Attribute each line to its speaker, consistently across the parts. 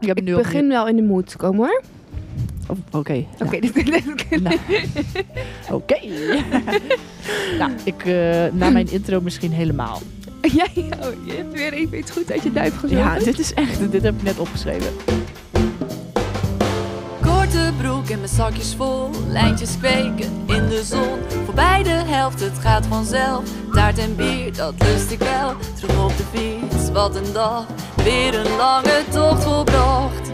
Speaker 1: Je hebt
Speaker 2: Ik
Speaker 1: nu opnieuw-
Speaker 2: begin wel in de moed te komen hoor.
Speaker 1: Oh, Oké.
Speaker 2: Oké, dit, dit-
Speaker 1: Nou, Oké. nou, ik, eh, na mijn intro misschien helemaal.
Speaker 2: Jij, oh, je hebt weer even iets goed uit je duif gezogen.
Speaker 1: Ja, dit is echt, dit heb ik net opgeschreven.
Speaker 3: Korte broek en mijn zakjes vol, lijntjes kweken in de zon. Voorbij de helft, het gaat vanzelf. Taart en bier, dat lust ik wel. Terug op de fiets, wat een dag. Weer een lange tocht volbracht.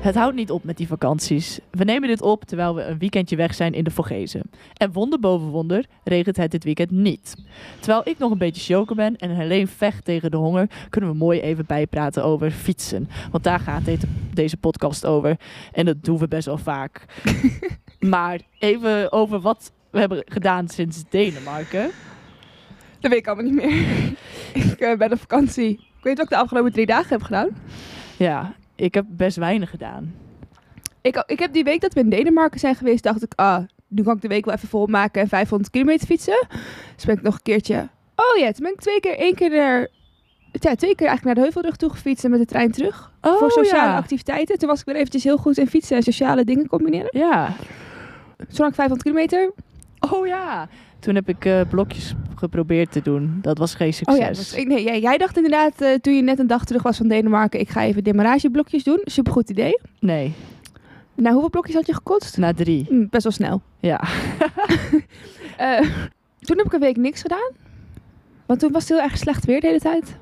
Speaker 1: Het houdt niet op met die vakanties. We nemen dit op terwijl we een weekendje weg zijn in de Vogezen. En wonder boven wonder regent het dit weekend niet. Terwijl ik nog een beetje choker ben en Helene vecht tegen de honger, kunnen we mooi even bijpraten over fietsen. Want daar gaat dit- deze podcast over. En dat doen we best wel vaak. maar even over wat we hebben gedaan sinds Denemarken.
Speaker 2: Dat weet ik allemaal niet meer. ik eh, ben op vakantie. Ik weet wat ik de afgelopen drie dagen heb gedaan.
Speaker 1: Ja, ik heb best weinig gedaan.
Speaker 2: Ik, oh, ik heb die week dat we in Denemarken zijn geweest, dacht ik, ah, nu kan ik de week wel even volmaken en 500 kilometer fietsen. Dus ben ik nog een keertje. Oh ja, toen ben ik twee keer, één keer naar, ja, twee keer eigenlijk naar de Heuvelrug toe gefietst en met de trein terug.
Speaker 1: Oh,
Speaker 2: voor sociale
Speaker 1: ja.
Speaker 2: activiteiten. Toen was ik weer eventjes heel goed in fietsen en sociale dingen combineren.
Speaker 1: Ja.
Speaker 2: Toen had ik 500 kilometer.
Speaker 1: Oh ja. Toen heb ik eh, blokjes geprobeerd te doen. Dat was geen succes.
Speaker 2: Oh ja, dat was- ik- nee, jij, jij dacht inderdaad eh, toen je net een dag terug was van Denemarken, ik ga even demarageblokjes doen. Supergoed idee.
Speaker 1: Nee,
Speaker 2: Nou, hoeveel blokjes had je gekotst?
Speaker 1: na drie.
Speaker 2: Hm, Best wel snel.
Speaker 1: Ja.
Speaker 2: Eh, toen heb ik een week niks gedaan. Want toen was het heel erg slecht weer de hele tijd.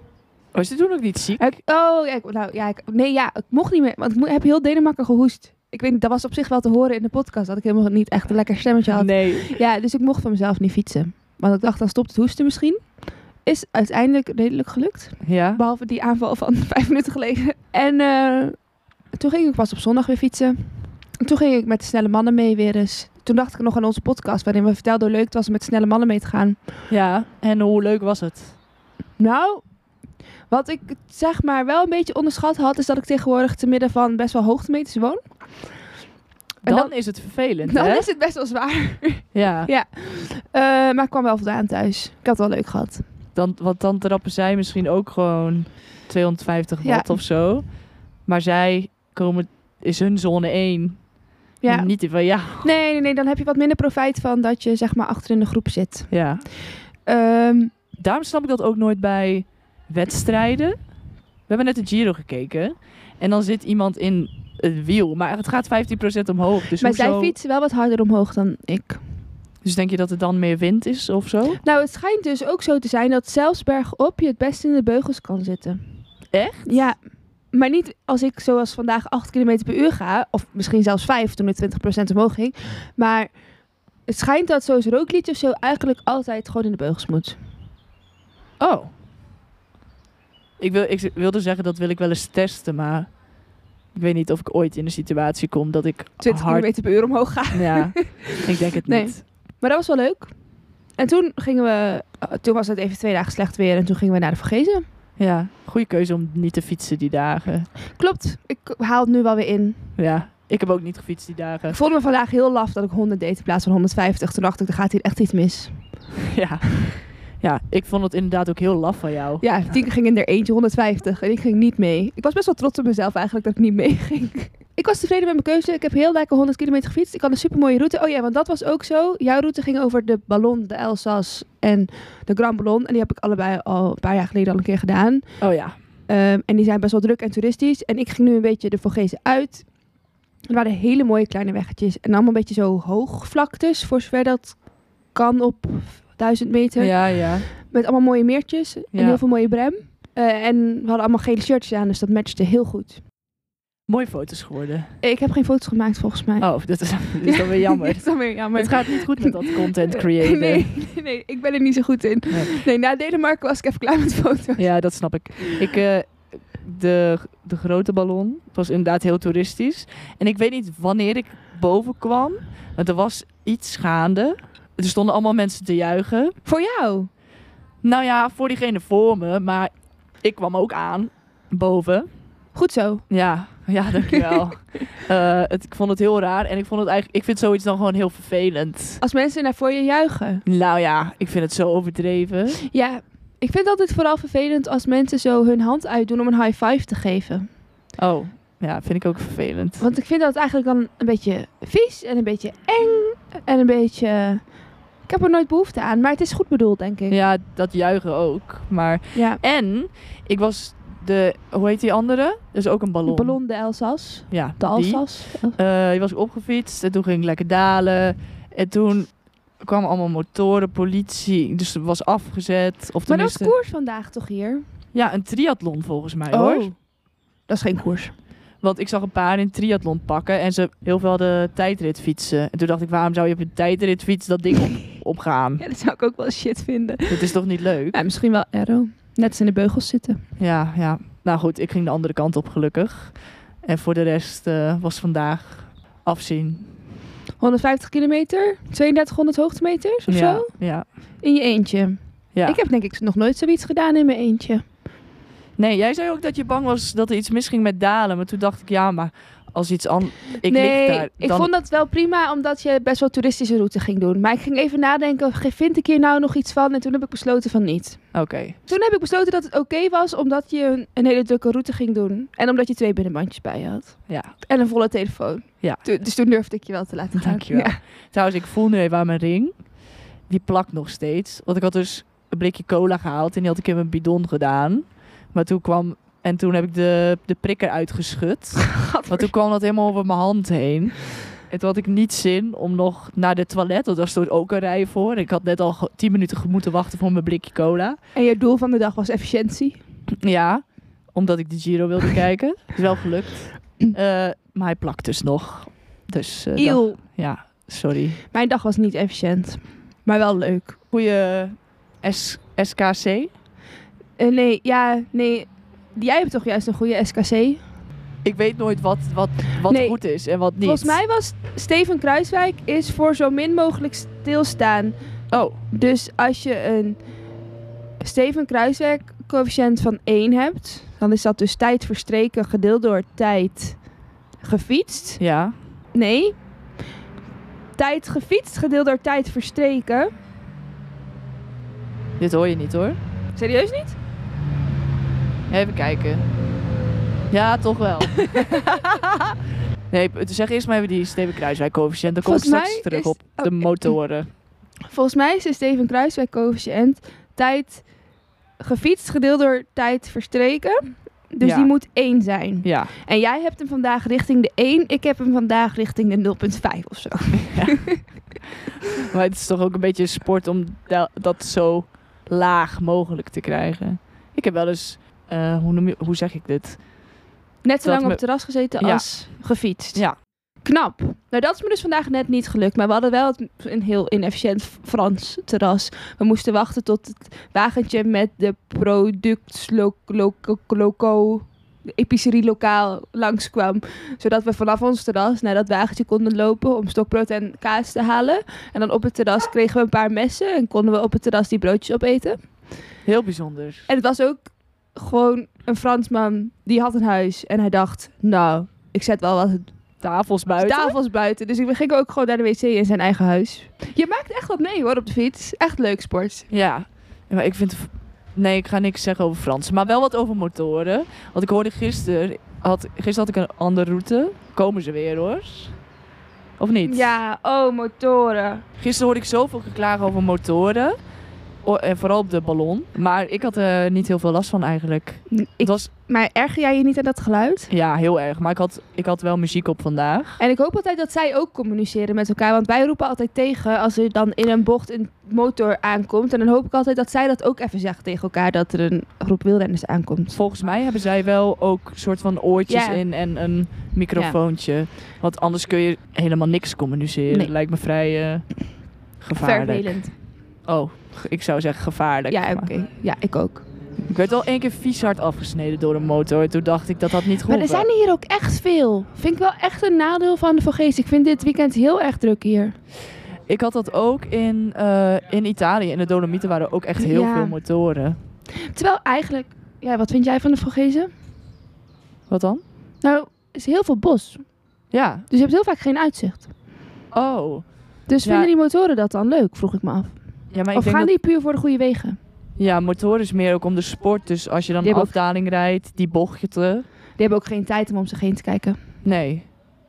Speaker 1: Was je Oh, toen ook niet ziek?
Speaker 2: Heb ik- oh, ja, ik- nou, ja, ik, nee, ja, ik mocht niet meer. Want ik mo- heb heel Denemarken gehoest. Ik weet niet, dat was op zich wel te horen in de podcast. Dat ik helemaal niet echt een lekker stemmetje had.
Speaker 1: Nee.
Speaker 2: Ja, dus ik mocht van mezelf niet fietsen. Want ik dacht, dan stopt het hoesten misschien. Is uiteindelijk redelijk gelukt.
Speaker 1: Ja?
Speaker 2: Behalve die aanval van vijf minuten geleden. En eh, toen ging ik pas op zondag weer fietsen. En toen ging ik met de snelle mannen mee weer eens. Toen dacht ik nog aan onze podcast, waarin we vertelden hoe leuk het was om met snelle mannen mee te gaan.
Speaker 1: Ja. En hoe leuk was het?
Speaker 2: Nou, wat ik zeg maar wel een beetje onderschat had, is dat ik tegenwoordig te midden van best wel hoogtemeters woon. En
Speaker 1: Dan,
Speaker 2: dan-
Speaker 1: is het vervelend,
Speaker 2: Dan
Speaker 1: hè?
Speaker 2: is het best wel zwaar.
Speaker 1: Ja.
Speaker 2: Eh, maar ik kwam wel voldaan thuis. Ik had het wel leuk gehad.
Speaker 1: Dan, want dan trappen zij misschien ook gewoon 250
Speaker 2: Ja.
Speaker 1: watt of zo. Maar zij komen... Is hun zone 1.
Speaker 2: Ja.
Speaker 1: Niet die van ja.
Speaker 2: Nee, nee, nee, dan heb je wat minder profijt van dat je zeg maar achter in de groep zit.
Speaker 1: Ja.
Speaker 2: Ehm,
Speaker 1: Daarom snap ik dat ook nooit bij wedstrijden. We hebben net de Giro gekeken. En dan zit iemand in het wiel. Maar het gaat 15% omhoog. Dus,
Speaker 2: maar
Speaker 1: hoezo,
Speaker 2: zij fietsen wel wat harder omhoog dan ik.
Speaker 1: dus denk je dat er dan meer wind is of zo?
Speaker 2: Nou, het schijnt dus ook zo te zijn dat zelfs bergop je het best in de beugels kan zitten.
Speaker 1: Echt?
Speaker 2: Ja, maar niet als ik zoals vandaag 8 km per uur ga, of misschien zelfs 5 toen het 20% omhoog ging. Maar het schijnt dat zoals rookliedje of zo eigenlijk altijd gewoon in de beugels moet.
Speaker 1: Oh. Ik, wil, ik wilde zeggen, dat wil ik wel eens testen. Maar ik weet niet of ik ooit in een situatie kom dat ik
Speaker 2: 20
Speaker 1: hard...
Speaker 2: km per uur omhoog gaan.
Speaker 1: Ja, ik denk het
Speaker 2: Nee.
Speaker 1: niet.
Speaker 2: Maar dat was wel leuk. En toen gingen we, eh, toen was het even twee dagen slecht weer en toen gingen we naar de Vergezen.
Speaker 1: Ja, goede keuze om niet te fietsen die dagen.
Speaker 2: Klopt, ik haal het nu wel weer in.
Speaker 1: Ja, ik heb ook niet gefietst die dagen.
Speaker 2: Ik Eh, voelde me vandaag heel laf dat ik 100 deed in plaats van 150. Toen dacht ik, er gaat hier echt iets mis.
Speaker 1: Ja. ja, ik vond het inderdaad ook heel laf van jou.
Speaker 2: Ja, Tinker ging in er eentje 150 en ik ging niet mee. Ik was best wel trots op mezelf eigenlijk dat ik niet meeging. Ik was tevreden met mijn keuze. Ik heb heel lekker 100 kilometer gefietst. Ik had een supermooie route. Oh ja, want dat was ook zo. Jouw route ging over de Ballon, de Elsass en de Grand Ballon. En die heb ik allebei al een paar jaar geleden al een keer gedaan.
Speaker 1: Oh ja.
Speaker 2: Ehm, en die zijn best wel druk en toeristisch. En ik ging nu een beetje de Vogezen uit. Er waren hele mooie kleine weggetjes. En allemaal een beetje zo hoogvlaktes, voor zover dat kan op 1000 meter.
Speaker 1: Ja, ja.
Speaker 2: Met allemaal mooie meertjes en
Speaker 1: Ja.
Speaker 2: heel veel mooie brem. Eh, en we hadden allemaal gele shirtjes aan, dus dat matchte heel goed.
Speaker 1: Mooie foto's geworden.
Speaker 2: Ik heb geen foto's gemaakt volgens mij.
Speaker 1: Oh, dat is, dat is dan weer jammer.
Speaker 2: Dat is dan weer jammer. Eh,
Speaker 1: Het gaat niet goed met dat content creëren.
Speaker 2: Nee, nee, nee, ik ben er niet zo goed in.
Speaker 1: Nee.
Speaker 2: Nee, na Denemarken was ik even klaar met foto's.
Speaker 1: Ja, dat snap ik. Ik, eh, de, de grote ballon was inderdaad heel toeristisch. En ik weet niet wanneer ik boven kwam, want er was iets gaande. Er stonden allemaal mensen te juichen.
Speaker 2: Voor jou?
Speaker 1: Nou ja, voor diegene voor me, maar ik kwam ook aan boven.
Speaker 2: Goed zo.
Speaker 1: Ja, ja, dankjewel. Eh het, ik vond het heel raar en ik vond het eigenlijk, ik vind zoiets dan gewoon heel vervelend.
Speaker 2: Als mensen naar voor je juichen.
Speaker 1: Nou ja, ik vind het zo overdreven.
Speaker 2: Ja, ik vind het altijd vooral vervelend als mensen zo hun hand uitdoen om een high five te geven.
Speaker 1: Oh, ja, vind ik ook vervelend.
Speaker 2: Want ik vind dat eigenlijk dan een beetje vies en een beetje eng en een beetje... Ik heb er nooit behoefte aan, maar het is goed bedoeld, denk ik.
Speaker 1: Ja, dat juichen ook. Maar
Speaker 2: Ja.
Speaker 1: en ik was de hoe heet die andere? Dus ook een ballon.
Speaker 2: De ballon de Alsas.
Speaker 1: Ja,
Speaker 2: De
Speaker 1: die.
Speaker 2: Alsas.
Speaker 1: Eh, die was ik opgefietst en toen ging ik lekker dalen. En toen kwamen allemaal motoren, politie, dus het was afgezet. Of
Speaker 2: Maar dat is
Speaker 1: tenminste,
Speaker 2: koers vandaag toch hier?
Speaker 1: Ja, een triathlon volgens mij
Speaker 2: Oh.
Speaker 1: hoor.
Speaker 2: Dat is geen koers.
Speaker 1: Want ik zag een paar in triathlon pakken en ze heel veel hadden tijdrit fietsen. En toen dacht ik, waarom zou je op een tijdrit fiets dat ding op, opgaan?
Speaker 2: Ja, dat zou ik ook wel shit vinden.
Speaker 1: Dat is toch niet leuk?
Speaker 2: Ja, misschien wel aero. Net als in de beugels zitten.
Speaker 1: Ja, ja. Nou goed, ik ging de andere kant op gelukkig. En voor de rest eh, was vandaag afzien.
Speaker 2: 150 kilometer, 3200 hoogtemeters of
Speaker 1: ja,
Speaker 2: zo.
Speaker 1: Ja,
Speaker 2: In je eentje.
Speaker 1: ja.
Speaker 2: Ik heb denk ik nog nooit zoiets gedaan in mijn eentje.
Speaker 1: Nee, jij zei ook dat je bang was dat er iets misging met dalen. Maar toen dacht ik, ja, maar als iets anders... Ik
Speaker 2: nee,
Speaker 1: lig daar.
Speaker 2: ik
Speaker 1: dan-
Speaker 2: vond dat wel prima omdat je best wel toeristische route ging doen. Maar ik ging even nadenken, ge- vind ik hier nou nog iets van? En toen heb ik besloten van niet.
Speaker 1: Oké.
Speaker 2: Toen heb ik besloten dat het oké was omdat je een, een hele drukke route ging doen. En omdat je twee binnenbandjes bij je had.
Speaker 1: Ja,
Speaker 2: En een volle telefoon.
Speaker 1: Ja.
Speaker 2: Toen- dus toen durfde ik je wel te laten gaan.
Speaker 1: dankjewel.
Speaker 2: Ja.
Speaker 1: Trouwens, ik voel nu even aan mijn ring. Die plakt nog steeds. Want ik had dus een blikje cola gehaald en die had ik in mijn bidon gedaan. Maar toen kwam... En toen heb ik de, de prikker uitgeschud. Want toen kwam dat helemaal over mijn hand heen. En toen had ik niet zin om nog naar de toilet. Want daar stond ook een rij voor. Ik had net al ge- 10 minuten ge- moeten wachten voor mijn blikje cola.
Speaker 2: En je doel van de dag was efficiëntie.
Speaker 1: Ja, omdat ik de Giro wilde kijken. Is wel gelukt. Eh, maar hij plakt dus nog. Dus eh, dag-
Speaker 2: Eeuw.
Speaker 1: ja, sorry.
Speaker 2: Mijn dag was niet efficiënt. Maar wel leuk.
Speaker 1: Goeie S SKC.
Speaker 2: Eh, nee, ja, nee. Jij hebt toch juist een goede SKC?
Speaker 1: Ik weet nooit wat, wat, wat
Speaker 2: Nee.
Speaker 1: goed is en wat niet.
Speaker 2: Volgens mij was Steven Kruiswijk is voor zo min mogelijk stilstaan.
Speaker 1: Oh,
Speaker 2: Dus als je een Steven Kruiswijk coëfficiënt van 1 hebt, dan is dat dus tijd verstreken gedeeld door tijd gefietst.
Speaker 1: ja.
Speaker 2: Nee. Tijd gefietst gedeeld door tijd verstreken.
Speaker 1: Dit hoor je niet hoor.
Speaker 2: Serieus niet?
Speaker 1: Even kijken. Ja, toch wel. nee, zeg eerst maar even die Steven Kruiswijk-coëfficiënt. Dan kom ik
Speaker 2: Volgens
Speaker 1: straks
Speaker 2: mij
Speaker 1: terug
Speaker 2: is-
Speaker 1: op de
Speaker 2: oh,
Speaker 1: motoren.
Speaker 2: Volgens mij is de Steven Kruiswijk coëfficiënt tijd gefietst gedeeld door tijd verstreken. Dus
Speaker 1: Ja.
Speaker 2: die moet 1 zijn.
Speaker 1: Ja.
Speaker 2: En jij hebt hem vandaag richting de 1. Ik heb hem vandaag richting de 0,5 of zo.
Speaker 1: Maar het is toch ook een beetje een sport om da- dat zo laag mogelijk te krijgen. Ik heb wel eens, eh, hoe, noem je, hoe zeg ik dit?
Speaker 2: Net zo
Speaker 1: Dat
Speaker 2: lang op
Speaker 1: me-
Speaker 2: het terras gezeten
Speaker 1: Ja.
Speaker 2: als gefietst.
Speaker 1: Ja.
Speaker 2: Knap. Nou, dat is me dus vandaag net niet gelukt. Maar we hadden wel het- een heel inefficiënt Frans terras. We moesten wachten tot het wagentje met de product lo- lo- lo- loco de epicerie lokaal langskwam. Zodat we vanaf ons terras naar dat wagentje konden lopen om stokbrood en kaas te halen. En dan op het terras kregen we een paar messen en konden we op het terras die broodjes opeten.
Speaker 1: Heel bijzonder.
Speaker 2: En het was ook gewoon een Fransman die had een huis en hij dacht, nou, ik zet wel wat
Speaker 1: Tafels buiten.
Speaker 2: tafels buiten. Dus ik ging ook gewoon naar de wc in zijn eigen huis. Je maakt echt wat mee hoor op de fiets. Echt leuk sport.
Speaker 1: Ja. Ja, Maar ik vind... Nee, ik ga niks zeggen over Frans. Maar wel wat over motoren. Want ik hoorde gisteren... Had, gisteren had ik een andere route. Komen ze weer hoor. Of niet?
Speaker 2: Ja, oh motoren.
Speaker 1: Gisteren hoorde ik zoveel geklaag over motoren. O- En vooral op de ballon. Maar ik had er niet heel veel last van eigenlijk.
Speaker 2: Ik,
Speaker 1: Het was
Speaker 2: maar erger jij je niet aan dat geluid?
Speaker 1: ja, heel erg. Maar ik had, ik had wel muziek op vandaag.
Speaker 2: En ik hoop altijd dat zij ook communiceren met elkaar. Want wij roepen altijd tegen als er dan in een bocht een motor aankomt. En dan hoop ik altijd dat zij dat ook even zeggen tegen elkaar. Dat er een groep wielrenners aankomt.
Speaker 1: Volgens mij hebben zij wel ook soort van oortjes
Speaker 2: Ja.
Speaker 1: in en een microfoontje. Want anders kun je helemaal niks communiceren.
Speaker 2: Nee.
Speaker 1: Lijkt me vrij eh, gevaarlijk.
Speaker 2: Vervelend.
Speaker 1: Oh, ge- ik zou zeggen gevaarlijk.
Speaker 2: Ja,
Speaker 1: maar-
Speaker 2: oké. Ja, ik ook.
Speaker 1: Ik werd al één keer vies hard afgesneden door een motor. Toen dacht ik dat dat niet goed
Speaker 2: Maar er zijn hier ook echt veel. Vind ik wel echt een nadeel van de Vogees. Ik vind dit weekend heel erg druk hier.
Speaker 1: Ik had dat ook in, eh, in Italië. In de Dolomieten waren ook echt heel
Speaker 2: Ja.
Speaker 1: veel motoren.
Speaker 2: Terwijl eigenlijk... Ja, wat vind jij van de Vogezen?
Speaker 1: Wat dan?
Speaker 2: Nou, er is heel veel bos.
Speaker 1: Ja.
Speaker 2: Dus je hebt heel vaak geen uitzicht.
Speaker 1: Oh.
Speaker 2: Dus
Speaker 1: Ja.
Speaker 2: vinden die motoren dat dan leuk? Vroeg ik me af.
Speaker 1: Ja, maar ik
Speaker 2: Of
Speaker 1: denk
Speaker 2: gaan
Speaker 1: dat-
Speaker 2: die puur voor de goede wegen?
Speaker 1: ja, motoren is meer ook om de sport. Dus als je dan
Speaker 2: Die hebben ook-
Speaker 1: afdaling rijdt, die bochtje te.
Speaker 2: hebben ook geen tijd om om zich heen te kijken.
Speaker 1: Nee.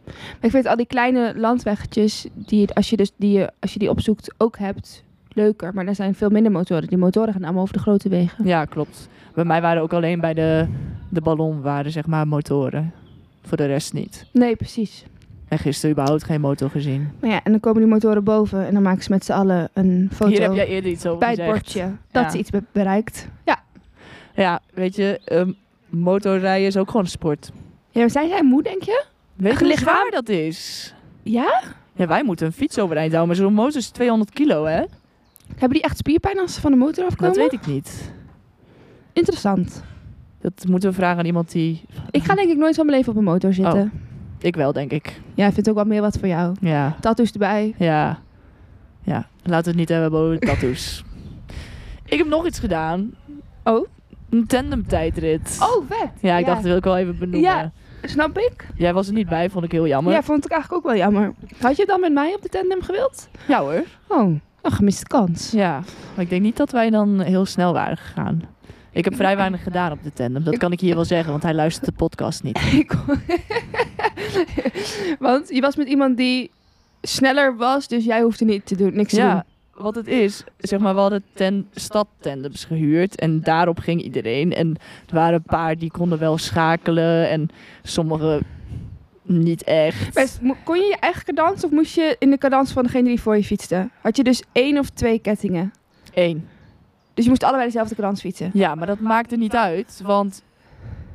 Speaker 2: Maar ik vind al die kleine landweggetjes, die, het- als, je dus die, je- als je die opzoekt, ook hebt, leuker. Maar er zijn veel minder motoren. Die motoren gaan allemaal over de grote wegen.
Speaker 1: Ja, klopt. Bij mij waren ook alleen bij de, de ballon waren zeg maar motoren. Voor de rest niet.
Speaker 2: Nee, precies.
Speaker 1: En gisteren überhaupt geen motor gezien.
Speaker 2: Maar ja, en dan komen die motoren boven en dan maken ze met z'n allen een foto
Speaker 1: Hier heb jij eerder iets over
Speaker 2: bij het
Speaker 1: gezegd.
Speaker 2: bordje. Dat
Speaker 1: Ja.
Speaker 2: ze iets be- bereikt.
Speaker 1: Ja, weet je, ehm, motorrijden is ook gewoon een sport.
Speaker 2: Ja, maar zijn zij moe, denk je?
Speaker 1: Weet je hoe
Speaker 2: Lichaam?
Speaker 1: zwaar dat is?
Speaker 2: Ja?
Speaker 1: Ja, wij moeten een fiets overeind houden, maar zo'n motor is 200 kilo, hè?
Speaker 2: Hebben die echt spierpijn als ze van de motor afkomen?
Speaker 1: Dat weet ik niet.
Speaker 2: Interessant.
Speaker 1: Dat moeten we vragen aan iemand die...
Speaker 2: Ik ga denk ik nooit van mijn leven op een motor zitten.
Speaker 1: Oh. Ik wel, denk ik.
Speaker 2: Ja, ik vind ook wel meer wat voor jou.
Speaker 1: Ja,
Speaker 2: Tattoos erbij.
Speaker 1: ja. Ja, laten we het niet hebben over tattoos. ik heb nog iets gedaan.
Speaker 2: Oh?
Speaker 1: Een tandem tijdrit.
Speaker 2: Oh, vet.
Speaker 1: Ja, ik dacht, dat wil ik wel even benoemen.
Speaker 2: Ja. Snap ik?
Speaker 1: Jij was er niet bij, vond ik heel jammer.
Speaker 2: Ja, vond ik eigenlijk ook wel jammer. Had je het dan met mij op de tandem gewild?
Speaker 1: Ja hoor.
Speaker 2: Oh, een gemiste kans.
Speaker 1: Ja, maar ik denk niet dat wij dan heel snel waren gegaan. Ik heb vrij weinig gedaan op de tandem. Dat kan ik hier wel zeggen, want hij luistert de podcast niet.
Speaker 2: Ik kon- Want je was met iemand die sneller was, dus jij hoefde niet te doen, niks te doen.
Speaker 1: Ja, wat het is, zeg maar, we hadden ten, stadtandems gehuurd en daarop ging iedereen. En er waren een paar die konden wel schakelen en sommige niet echt.
Speaker 2: Maar mo- kon je je eigen cadans of moest je in de cadans van degene die voor je fietste? Had je dus één of twee kettingen?
Speaker 1: Eén.
Speaker 2: Dus je moest allebei dezelfde cadans fietsen?
Speaker 1: Ja, maar dat maakte niet uit, want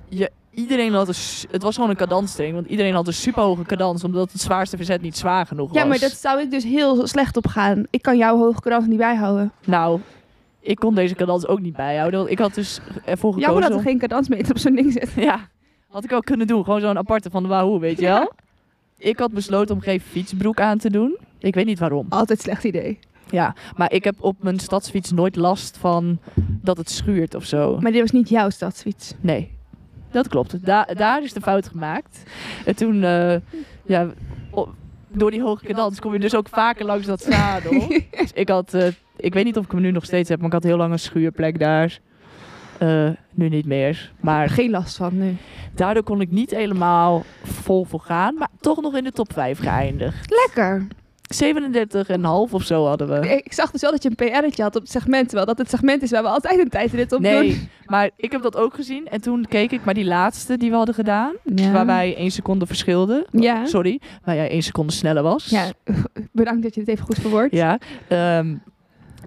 Speaker 1: je, iedereen had een, s- het was gewoon een cadanstraining, want iedereen had een superhoge cadans, omdat het zwaarste verzet niet zwaar genoeg was.
Speaker 2: Ja, maar dat zou ik dus heel slecht op gaan. Ik kan jouw hoge cadans niet bijhouden.
Speaker 1: Nou, ik kon deze cadans ook niet bijhouden, want ik had dus ervoor gekozen...
Speaker 2: Jammer dat er
Speaker 1: om-
Speaker 2: geen cadansmeter op zo'n ding zit.
Speaker 1: Ja, had ik ook kunnen doen. Gewoon zo'n aparte van de Wahoo, weet je wel? Ik had besloten om geen fietsbroek aan te doen. Ik weet niet waarom.
Speaker 2: Altijd slecht idee.
Speaker 1: Ja, maar ik heb op mijn stadsfiets nooit last van dat het schuurt of zo.
Speaker 2: Maar dit was niet jouw stadsfiets.
Speaker 1: Nee, dat klopt. Da- daar is de fout gemaakt. En toen, eh, ja, o- door die hoge cadans kom je dus ook vaker langs dat zadel. dus ik had, eh, ik weet niet of ik hem nu nog steeds heb, maar ik had heel lang een schuurplek daar. Eh, nu niet meer. Maar
Speaker 2: Geen last van nu.
Speaker 1: Daardoor kon ik niet helemaal vol voor gaan, maar toch nog in de top 5 geëindigd.
Speaker 2: Lekker.
Speaker 1: 37,5 of zo hadden we.
Speaker 2: Ik zag dus wel dat je een PR'tje had op het segment. Terwijl dat het segment is waar we altijd een tijdrit op doen.
Speaker 1: Nee, maar ik heb dat ook gezien en toen keek ik maar die laatste die we hadden gedaan,
Speaker 2: Ja.
Speaker 1: waar wij 1 seconde verschilden.
Speaker 2: Ja.
Speaker 1: Sorry, waar jij 1 seconde sneller was.
Speaker 2: Ja, bedankt dat je het even goed verwoordt.
Speaker 1: Ja, ehm,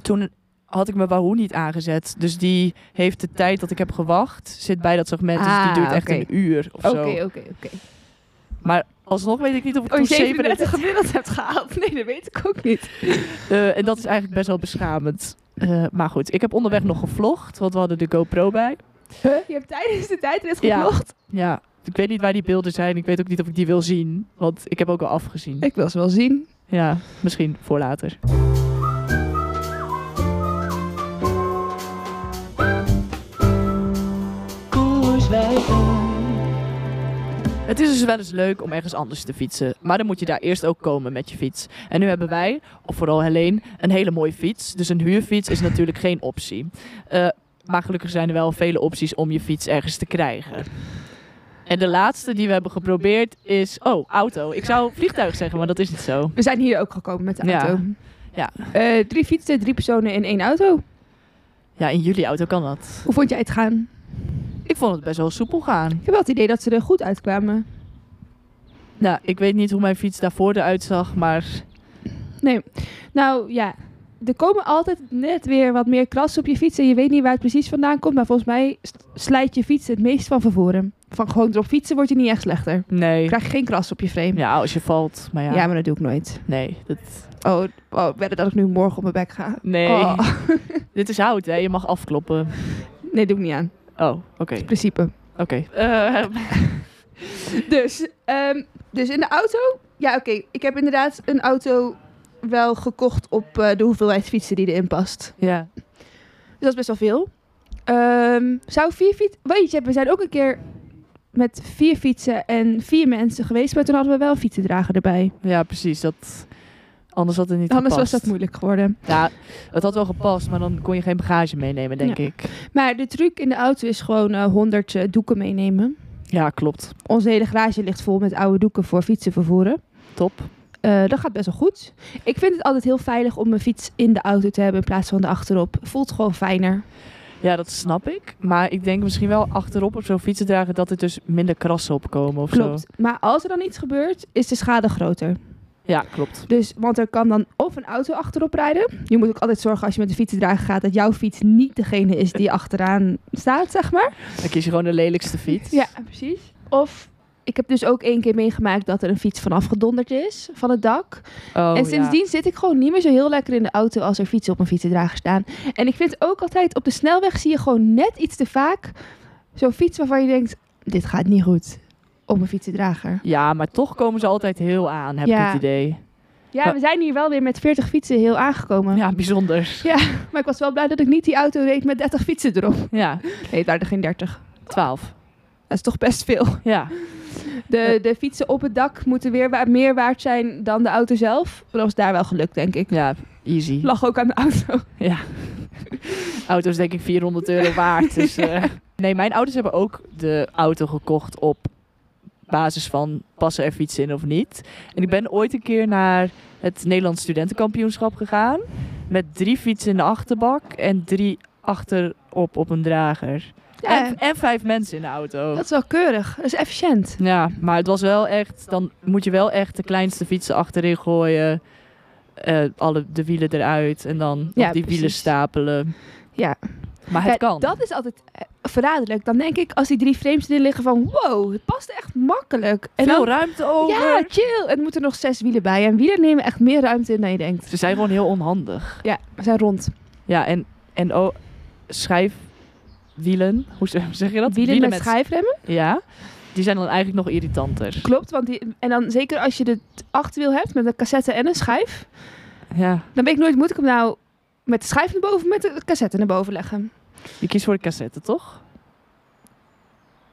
Speaker 1: toen had ik mijn Wahoo niet aangezet, dus die heeft de tijd dat ik heb gewacht, zit bij dat segment, dus die
Speaker 2: Ah,
Speaker 1: duurt echt
Speaker 2: oké.
Speaker 1: een uur of zo.
Speaker 2: Oké, oké, oké.
Speaker 1: Maar alsnog weet ik niet of ik
Speaker 2: Oh, je
Speaker 1: toen
Speaker 2: 37
Speaker 1: 37
Speaker 2: gemiddeld hebt gehaald? Nee, dat weet ik ook niet.
Speaker 1: Eh, en dat is eigenlijk best wel beschamend. Eh, maar goed, ik heb onderweg nog gevlogd, want we hadden de GoPro bij.
Speaker 2: Huh? Je hebt tijdens de tijdrit
Speaker 1: Ja.
Speaker 2: gevlogd?
Speaker 1: Ja, ik weet niet waar die beelden zijn. Ik weet ook niet of ik die wil zien, want ik heb ook al afgezien.
Speaker 2: Ik wil ze wel zien.
Speaker 1: Ja, misschien voor later. Het is dus wel eens leuk om ergens anders te fietsen, maar dan moet je daar eerst ook komen met je fiets. En nu hebben wij, of vooral Helene, een hele mooie fiets. Dus een huurfiets is natuurlijk geen optie. Eh, maar gelukkig zijn er wel vele opties om je fiets ergens te krijgen. En de laatste die we hebben geprobeerd is... Oh, auto. Ik zou vliegtuig zeggen, maar dat is niet zo.
Speaker 2: We zijn hier ook gekomen met de
Speaker 1: Ja.
Speaker 2: auto.
Speaker 1: Ja.
Speaker 2: Eh, drie fietsen, drie personen in één auto.
Speaker 1: Ja, in jullie auto kan dat.
Speaker 2: Hoe vond jij het gaan?
Speaker 1: Ik vond het best wel soepel gaan.
Speaker 2: Ik heb wel het idee dat ze er goed uitkwamen.
Speaker 1: Nou, ik weet niet hoe mijn fiets daarvoor eruit zag, maar...
Speaker 2: Nou ja, er komen altijd net weer wat meer krassen op je fiets. En je weet niet waar het precies vandaan komt. Maar volgens mij s- slijt je fiets het meest van vervoren. Van gewoon erop fietsen wordt je niet echt slechter.
Speaker 1: Nee.
Speaker 2: Krijg je geen kras op je frame.
Speaker 1: Ja, als je valt. Maar ja,
Speaker 2: Ja, maar dat doe ik nooit.
Speaker 1: nee. Dat,
Speaker 2: Oh, oh werden dat ik nu morgen op mijn bek ga.
Speaker 1: nee.
Speaker 2: Oh,
Speaker 1: Dit is hout, hè. Je mag afkloppen.
Speaker 2: nee, doe ik niet aan.
Speaker 1: Oh, oké.
Speaker 2: Principe.
Speaker 1: Oké. Eh,
Speaker 2: Dus, ehm, dus in de auto. Ja, oké. Ik heb inderdaad een auto wel gekocht op eh, de hoeveelheid fietsen die erin past.
Speaker 1: ja.
Speaker 2: Dus dat is best wel veel. Ehm, zou vier fietsen. Weet je, we zijn ook een keer met vier fietsen en vier mensen geweest. Maar toen hadden we wel een fietsendrager erbij.
Speaker 1: ja, precies. Dat... Anders had het niet
Speaker 2: Anders was
Speaker 1: gepast.
Speaker 2: dat moeilijk geworden.
Speaker 1: Ja, het had wel gepast, maar dan kon je geen bagage meenemen, denk
Speaker 2: Ja.
Speaker 1: ik.
Speaker 2: Maar de truc in de auto is gewoon honderd eh, doeken meenemen.
Speaker 1: Ja, klopt.
Speaker 2: Onze hele garage ligt vol met oude doeken voor fietsen vervoeren.
Speaker 1: Top.
Speaker 2: Eh, dat gaat best wel goed. Ik vind het altijd heel veilig om mijn fiets in de auto te hebben in plaats van de achterop. Voelt gewoon fijner.
Speaker 1: Ja, dat snap ik. Maar ik denk misschien wel achterop op zo'n fietsen dragen dat er dus minder krassen op komen of zo.
Speaker 2: Klopt. Maar als er dan iets gebeurt, is de schade groter.
Speaker 1: Ja, klopt.
Speaker 2: Dus, want er kan dan of een auto achterop rijden. Je moet ook altijd zorgen als je met de fietsendrager gaat dat jouw fiets niet degene is die achteraan staat, zeg maar.
Speaker 1: Dan kies je gewoon de lelijkste fiets.
Speaker 2: Ja, precies. Of ik heb dus ook één keer meegemaakt dat er een fiets vanaf gedonderd is van het dak.
Speaker 1: Oh,
Speaker 2: en
Speaker 1: ja.
Speaker 2: sindsdien zit ik gewoon niet meer zo heel lekker in de auto als er fietsen op mijn fietsendrager staan. En ik vind ook altijd op de snelweg zie je gewoon net iets te vaak zo'n fiets waarvan je denkt: dit gaat niet goed op mijn fietsendrager.
Speaker 1: Ja, maar toch komen ze altijd heel aan, heb ik
Speaker 2: Ja.
Speaker 1: het idee.
Speaker 2: Ja, we zijn hier wel weer met 40 fietsen heel aangekomen.
Speaker 1: Ja, bijzonder.
Speaker 2: Maar ik was wel blij dat ik niet die auto reed met 30 fietsen erop.
Speaker 1: Ja,
Speaker 2: Nee, het waren er geen 30.
Speaker 1: 12.
Speaker 2: Dat is toch best veel.
Speaker 1: Ja,
Speaker 2: De, de fietsen op het dak moeten weer wa- meer waard zijn dan de auto zelf. Dat was daar wel gelukt, denk ik.
Speaker 1: ja, easy.
Speaker 2: Lag ook aan de auto.
Speaker 1: Ja. Auto is denk ik 400 euro waard. Dus, eh. Nee, mijn ouders hebben ook de auto gekocht op basis van passen er fietsen in of niet. En ik ben ooit een keer naar het Nederlands studentenkampioenschap gegaan. Met drie fietsen in de achterbak en drie achterop op een drager.
Speaker 2: Ja, Oh.
Speaker 1: En, en vijf mensen in de auto.
Speaker 2: dat is wel keurig. Dat is efficiënt.
Speaker 1: Ja, maar het was wel echt... Dan moet je wel echt de kleinste fietsen achterin gooien. eh, alle de wielen eruit en dan
Speaker 2: Ja,
Speaker 1: op die wielen
Speaker 2: precies.
Speaker 1: stapelen.
Speaker 2: Ja.
Speaker 1: Maar het
Speaker 2: Ja,
Speaker 1: kan.
Speaker 2: Dat is altijd eh, verraderlijk. Dan denk ik, als die drie frames erin liggen van... Wow, het past echt makkelijk. En
Speaker 1: veel
Speaker 2: dan,
Speaker 1: ruimte over.
Speaker 2: Ja, chill. En er moeten nog zes wielen bij. En wielen nemen echt meer ruimte in dan je denkt.
Speaker 1: Ze zijn gewoon heel onhandig.
Speaker 2: Ja, we zijn rond.
Speaker 1: Ja, en, en oh, schijfwielen, hoe ze- hoe zeg je dat?
Speaker 2: Wielen, met, schijfremmen.
Speaker 1: Ja, die zijn dan eigenlijk nog irritanter.
Speaker 2: Klopt, want die, en dan zeker als je de t- achterwiel hebt met een cassette en een schijf...
Speaker 1: Ja,
Speaker 2: Dan weet ik nooit, moet ik hem nou met de schijf naar boven of met de cassette naar boven leggen?
Speaker 1: je kiest voor de cassette, toch?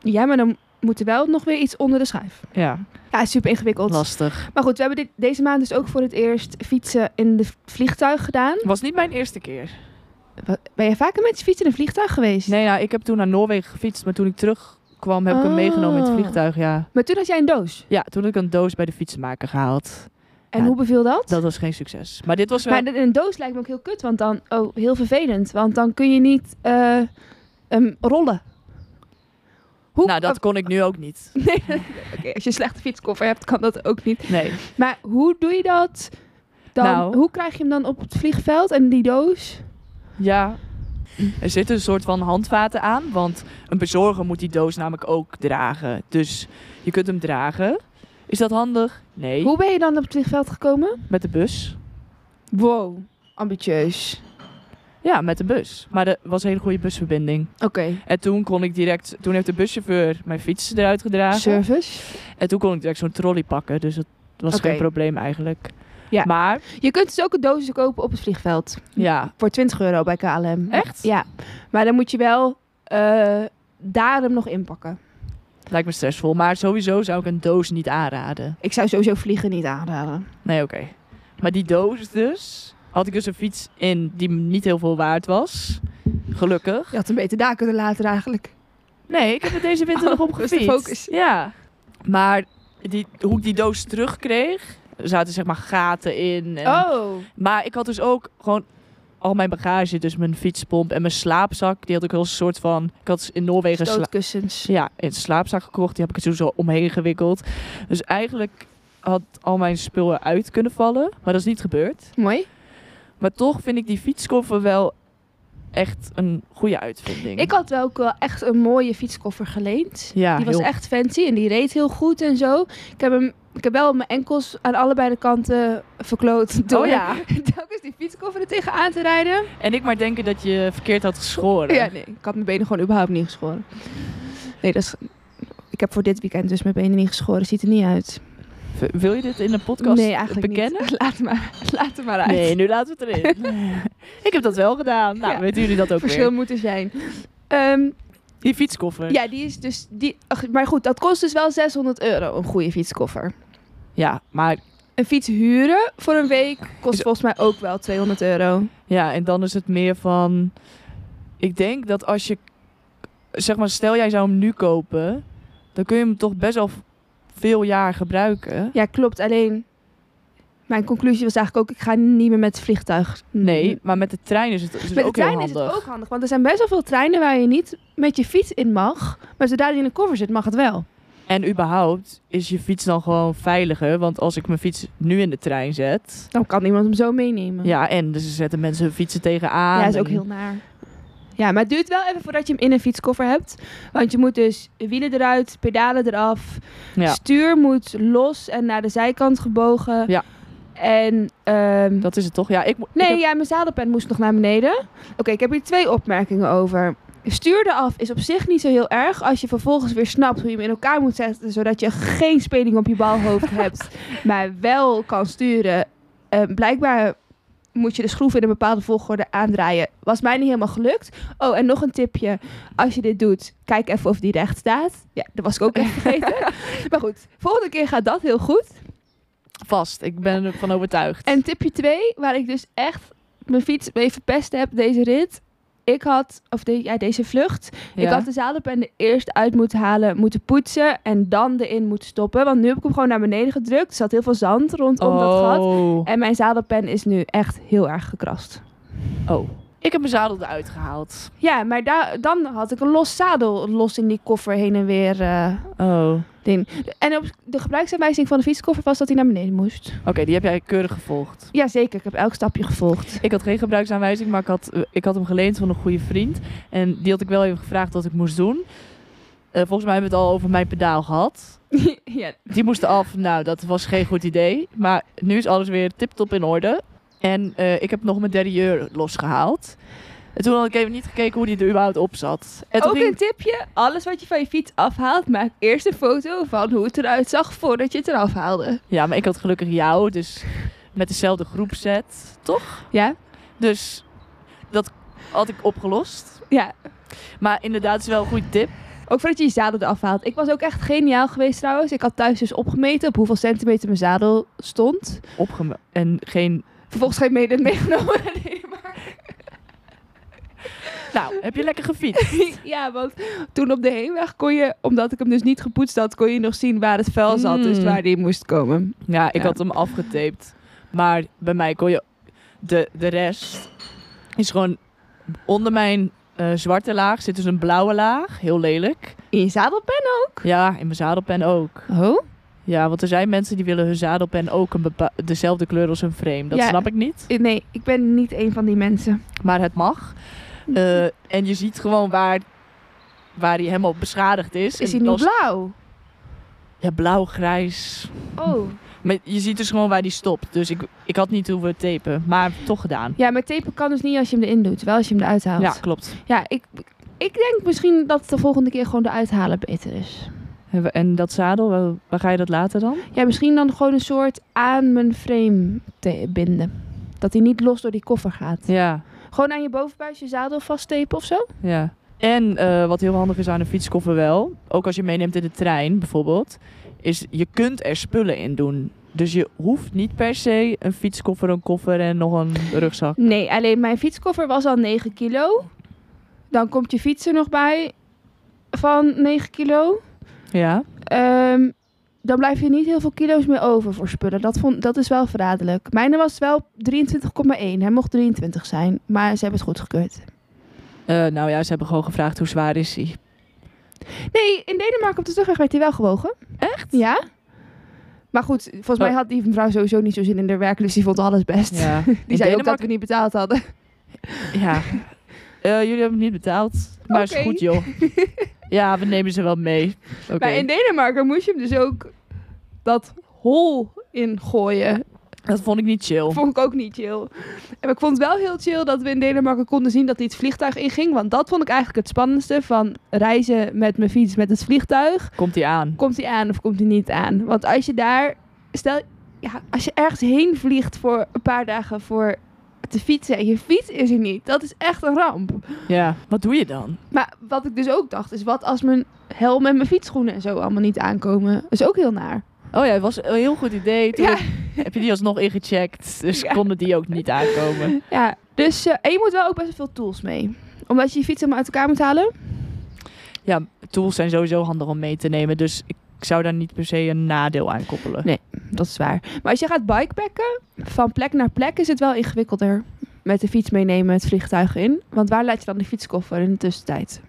Speaker 2: Ja, maar dan moet er wel nog weer iets onder de schijf.
Speaker 1: Ja,
Speaker 2: Ja, super ingewikkeld.
Speaker 1: lastig.
Speaker 2: Maar goed, we hebben dit, deze maand dus ook voor het eerst fietsen in de vliegtuig gedaan.
Speaker 1: Was niet mijn eerste keer.
Speaker 2: Wa- Ben je vaker met je fiets in een vliegtuig geweest?
Speaker 1: Nee, nou, ik heb toen naar Noorwegen gefietst, maar toen ik terugkwam heb ik hem
Speaker 2: Ah.
Speaker 1: meegenomen in het vliegtuig, ja.
Speaker 2: Maar toen had jij een doos.
Speaker 1: Ja, toen heb ik een doos bij de fietsenmaker gehaald.
Speaker 2: En
Speaker 1: Ja,
Speaker 2: hoe beviel dat?
Speaker 1: Dat was geen succes. Maar dit was wel...
Speaker 2: Maar de- een doos lijkt me ook heel kut, want dan, oh, heel vervelend. Want dan kun je niet eh, ehm, rollen. Hoe,
Speaker 1: Nou, dat kon ik nu ook niet.
Speaker 2: Nee, oké, als je een slechte fietskoffer hebt, kan dat ook niet.
Speaker 1: Nee.
Speaker 2: Maar hoe doe je dat? Dan,
Speaker 1: Nou.
Speaker 2: Hoe krijg je hem dan op het vliegveld en die doos?
Speaker 1: Ja. Er zitten een soort van handvaten aan, want een bezorger moet die doos namelijk ook dragen. Dus je kunt hem dragen. Is dat handig? Nee.
Speaker 2: Hoe ben je dan op het vliegveld gekomen?
Speaker 1: Met de bus?
Speaker 2: Wow, ambitieus.
Speaker 1: Ja, met de bus. Maar er was een hele goede busverbinding.
Speaker 2: Oké,
Speaker 1: En toen kon ik direct, toen heeft de buschauffeur mijn fiets eruit gedragen.
Speaker 2: service.
Speaker 1: En toen kon ik direct zo'n trolley pakken, dus dat was
Speaker 2: Oké.
Speaker 1: geen probleem eigenlijk.
Speaker 2: Ja.
Speaker 1: Maar,
Speaker 2: Je kunt dus ook een doosje kopen op het vliegveld.
Speaker 1: ja,
Speaker 2: Voor 20 euro bij KLM.
Speaker 1: Echt?
Speaker 2: Ja, maar dan moet je wel eh, daar hem nog inpakken.
Speaker 1: lijkt me stressvol. Maar sowieso zou ik een doos niet aanraden.
Speaker 2: Ik zou sowieso vliegen niet aanraden.
Speaker 1: Nee, oké. Maar die doos dus, had ik dus een fiets in die me niet heel veel waard was. Gelukkig.
Speaker 2: Je had hem beter daar kunnen laten eigenlijk.
Speaker 1: Nee, ik heb er deze winter
Speaker 2: Oh,
Speaker 1: nog op
Speaker 2: dat is de
Speaker 1: gefietst.
Speaker 2: focus.
Speaker 1: Ja. dus Maar die, hoe ik die doos terugkreeg, er zaten zeg maar gaten in. En,
Speaker 2: Oh,
Speaker 1: Maar ik had dus ook gewoon al mijn bagage, dus mijn fietspomp en mijn slaapzak. Die had ik wel een soort van, ik had in Noorwegen sla
Speaker 2: stootkussens.
Speaker 1: ja, een slaapzak gekocht. Die heb ik er toen zo omheen gewikkeld. Dus eigenlijk had al mijn spul eruit kunnen vallen. Maar dat is niet gebeurd.
Speaker 2: Mooi.
Speaker 1: Maar toch vind ik die fietskoffer wel echt een goede uitvinding.
Speaker 2: Ik had wel ook wel echt een mooie fietskoffer geleend.
Speaker 1: ja,
Speaker 2: die was
Speaker 1: heel-
Speaker 2: echt fancy en die reed heel goed en zo. Ik heb, hem, ik heb wel mijn enkels aan allebei de kanten verkloot. Door
Speaker 1: Oh ja.
Speaker 2: telkens die fietskoffer er tegenaan te rijden.
Speaker 1: En ik maar denken dat je verkeerd had geschoren.
Speaker 2: Ja, nee. Ik had mijn benen gewoon überhaupt niet geschoren. Nee, dat is... Ik heb voor dit weekend dus mijn benen niet geschoren. Ziet er niet uit.
Speaker 1: V- Wil je dit in een podcast
Speaker 2: nee, eigenlijk
Speaker 1: bekennen?
Speaker 2: niet. Laat maar, laat het maar uit.
Speaker 1: Nee, nu laten we het erin. ik heb dat wel gedaan. Nou,
Speaker 2: Ja.
Speaker 1: weten jullie dat ook
Speaker 2: Verschil
Speaker 1: weer?
Speaker 2: moet er zijn. Ehm,
Speaker 1: Die fietskoffer.
Speaker 2: ja, die is dus... Die, ach, maar goed, dat kost dus wel 600 euro, een goede fietskoffer.
Speaker 1: Ja, maar
Speaker 2: Een fiets huren voor een week kost
Speaker 1: Is-
Speaker 2: volgens mij ook wel 200 euro.
Speaker 1: ja, en dan is het meer van... Ik denk dat als je... Zeg maar, stel jij zou hem nu kopen... Dan dan kun je hem toch best wel v- veel jaar gebruiken.
Speaker 2: Ja, klopt. Alleen, mijn conclusie was eigenlijk ook, ik ga niet meer met het vliegtuig.
Speaker 1: Nee, maar met de trein is het, is het
Speaker 2: Met de
Speaker 1: ook heel
Speaker 2: trein is
Speaker 1: handig.
Speaker 2: het ook handig, want er zijn best wel veel treinen waar je niet met je fiets in mag. Maar zodra die in een koffer zit, mag het wel.
Speaker 1: En überhaupt is je fiets dan gewoon veiliger. Want als ik mijn fiets nu in de trein zet.
Speaker 2: Dan kan iemand hem zo meenemen.
Speaker 1: Ja, en dus zetten mensen hun fietsen tegenaan.
Speaker 2: Mhm. Ja, is ook
Speaker 1: en-
Speaker 2: heel naar. Ja, maar het duurt wel even voordat je hem in een fietskoffer hebt. Want je moet dus wielen eruit, pedalen eraf.
Speaker 1: Ja,
Speaker 2: Stuur moet los en naar de zijkant gebogen.
Speaker 1: Ja.
Speaker 2: En ehm,
Speaker 1: dat is het toch? Ja, ik, mo- ik
Speaker 2: Nee,
Speaker 1: heb-
Speaker 2: ja, mijn zadelpen moest nog naar beneden. Oké, ik heb hier twee opmerkingen over. Stuurde af is op zich niet zo heel erg als je vervolgens weer snapt hoe je hem in elkaar moet zetten, zodat je geen speling op je balhoofd hebt, maar wel kan sturen. Eh, blijkbaar moet je de schroef in een bepaalde volgorde aandraaien. Was mij niet helemaal gelukt. Oh, en nog een tipje. Als je dit doet, kijk even of die recht staat. Ja, dat was ik ook even vergeten. maar goed, volgende keer gaat dat heel goed.
Speaker 1: vast. Ik ben ervan overtuigd.
Speaker 2: En tipje 2, waar ik dus echt mijn fiets mee verpest heb, deze rit. Ik had, of de, ja, deze vlucht. Ik
Speaker 1: Ja.
Speaker 2: had de zadelpen er eerst uit moeten halen, moeten poetsen en dan erin moeten stoppen. Want nu heb ik hem gewoon naar beneden gedrukt. Er zat heel veel zand rondom dat gat.
Speaker 1: Oh.
Speaker 2: En mijn zadelpen is nu echt heel erg gekrast.
Speaker 1: oh. Ik heb mijn zadel eruit gehaald.
Speaker 2: Ja, maar da- dan had ik een los zadel los in die koffer heen en weer. eh,
Speaker 1: Oh. Oké,
Speaker 2: ding. En op de gebruiksaanwijzing van de fietskoffer was dat hij naar beneden moest.
Speaker 1: die heb jij keurig gevolgd.
Speaker 2: Jazeker, ik heb elk stapje gevolgd.
Speaker 1: Ik had geen gebruiksaanwijzing, maar ik had, eh, ik had hem geleend van een goede vriend. En die had ik wel even gevraagd wat ik moest doen. Eh, volgens mij hebben we het al over mijn pedaal gehad.
Speaker 2: ja,
Speaker 1: Die moesten af. Nou, dat was geen goed idee. Maar nu is alles weer tip-top in orde. En eh, ik heb nog mijn derrière losgehaald. En toen had ik even niet gekeken hoe die er überhaupt op zat. En toen
Speaker 2: ook
Speaker 1: ging-
Speaker 2: een tipje, alles wat je van je fiets afhaalt, maak eerst een foto van hoe het eruit zag voordat je het eraf haalde.
Speaker 1: Ja, maar ik had gelukkig jou, dus met dezelfde groepset, toch?
Speaker 2: Ja?
Speaker 1: Dus dat had ik opgelost.
Speaker 2: Ja.
Speaker 1: Maar inderdaad, het is wel een goede tip.
Speaker 2: Ook voordat je je zadel eraf haalt. Ik was ook echt geniaal geweest trouwens. Ik had thuis dus opgemeten op hoeveel centimeter mijn zadel stond.
Speaker 1: Opgeme en geen...
Speaker 2: Vervolgens geen mede meegenomen. Nee, maar...
Speaker 1: Nou, heb je lekker gefietst?
Speaker 2: Ja, want toen op de heenweg kon je, omdat ik hem dus niet gepoetst had, kon je nog zien waar het vuil zat. Dus
Speaker 1: Mm.
Speaker 2: waar die moest komen.
Speaker 1: Ja, ik
Speaker 2: Ja.
Speaker 1: had hem afgetaped. Maar bij mij kon je... De, de rest is gewoon... Onder mijn eh, zwarte laag zit dus een blauwe laag. Heel lelijk.
Speaker 2: In je zadelpen ook?
Speaker 1: Ja, in mijn zadelpen ook.
Speaker 2: Oh?
Speaker 1: Ja, want er zijn mensen die willen hun zadelpen ook een bepa- dezelfde kleur als hun frame. Dat
Speaker 2: Ja.
Speaker 1: snap ik niet.
Speaker 2: Nee, ik ben niet een van die mensen.
Speaker 1: maar het mag.
Speaker 2: Mhm.
Speaker 1: Eh, en je ziet gewoon waar, waar hij helemaal beschadigd is.
Speaker 2: Is
Speaker 1: En
Speaker 2: hij nu
Speaker 1: als-
Speaker 2: blauw?
Speaker 1: Ja, blauw-grijs.
Speaker 2: Oh.
Speaker 1: Maar je ziet dus gewoon waar die stopt. Dus ik, ik had niet hoeven tapen, maar toch gedaan.
Speaker 2: Ja, maar tapen kan dus niet als je hem erin doet, wel als je hem eruit haalt.
Speaker 1: Ja, klopt.
Speaker 2: Ja, ik, ik denk misschien dat de volgende keer gewoon de uithalen beter is.
Speaker 1: En we- En dat zadel, waar, waar ga je dat later dan?
Speaker 2: Ja, misschien dan gewoon een soort aan mijn frame te binden. Dat hij niet los door die koffer gaat.
Speaker 1: Ja,
Speaker 2: Gewoon aan je bovenbuis je zadel vasttepen of zo.
Speaker 1: ja. En eh, wat heel handig is aan een fietskoffer wel, ook als je meeneemt in de trein bijvoorbeeld, is je kunt er spullen in doen. Dus je hoeft niet per se een fietskoffer, een koffer en nog een rugzak.
Speaker 2: Nee, alleen mijn fietskoffer was al 9 kilo. Dan komt je fiets er nog bij van 9 kilo.
Speaker 1: Ja.
Speaker 2: Ehm, dan blijf je niet heel veel kilo's meer over voor spullen. Dat, vond, dat is wel verraderlijk. Mijne was wel 23,1. Hij mocht 23 zijn, maar ze hebben het goed gekeurd.
Speaker 1: Eh, nou ja, ze hebben gewoon gevraagd hoe zwaar is hij.
Speaker 2: Nee, in Denemarken op de terugweg werd hij wel gewogen. Echt? Ja. Maar goed, volgens mij
Speaker 1: Oh.
Speaker 2: had die mevrouw sowieso niet zo zin in haar werk, dus die vond alles best.
Speaker 1: Ja.
Speaker 2: Die zei ook dat we niet betaald hadden.
Speaker 1: Ja. Eh, jullie hebben het niet betaald. Maar is
Speaker 2: Oké.
Speaker 1: goed, joh. Ja, we nemen ze wel mee. Oké.
Speaker 2: Maar in Denemarken moest je hem dus ook dat hol in gooien.
Speaker 1: Dat vond ik niet chill.
Speaker 2: Dat vond ik ook niet chill. En ik vond het wel heel chill dat we in Denemarken konden zien dat hij het vliegtuig inging. Want dat vond ik eigenlijk het spannendste van reizen met mijn fiets met het vliegtuig.
Speaker 1: Komt hij aan?
Speaker 2: komt hij aan of komt hij niet aan? Want als je daar, stel, ja, als je ergens heen vliegt voor een paar dagen voor te fietsen en je fiets is er niet, dat is echt een ramp.
Speaker 1: Ja. Wat doe je dan?
Speaker 2: Maar wat ik dus ook dacht, is wat als mijn helm en mijn fietsschoenen en zo allemaal niet aankomen? Dat is ook heel naar.
Speaker 1: Oh ja, het was een heel goed idee. Toen
Speaker 2: Ja.
Speaker 1: heb je die alsnog ingecheckt. Dus
Speaker 2: Ja.
Speaker 1: konden die ook niet aankomen.
Speaker 2: Ja, dus, eh, en je moet wel ook best wel veel tools mee. Omdat je je fiets helemaal uit elkaar moet halen.
Speaker 1: Ja, tools zijn sowieso handig om mee te nemen. Dus ik zou daar niet per se een nadeel aan koppelen.
Speaker 2: Nee. Dat is waar. Maar als je gaat bikepacken, van plek naar plek is het wel ingewikkelder. Met de fiets meenemen, het vliegtuig in. Want waar laat je dan de fietskoffer in de tussentijd?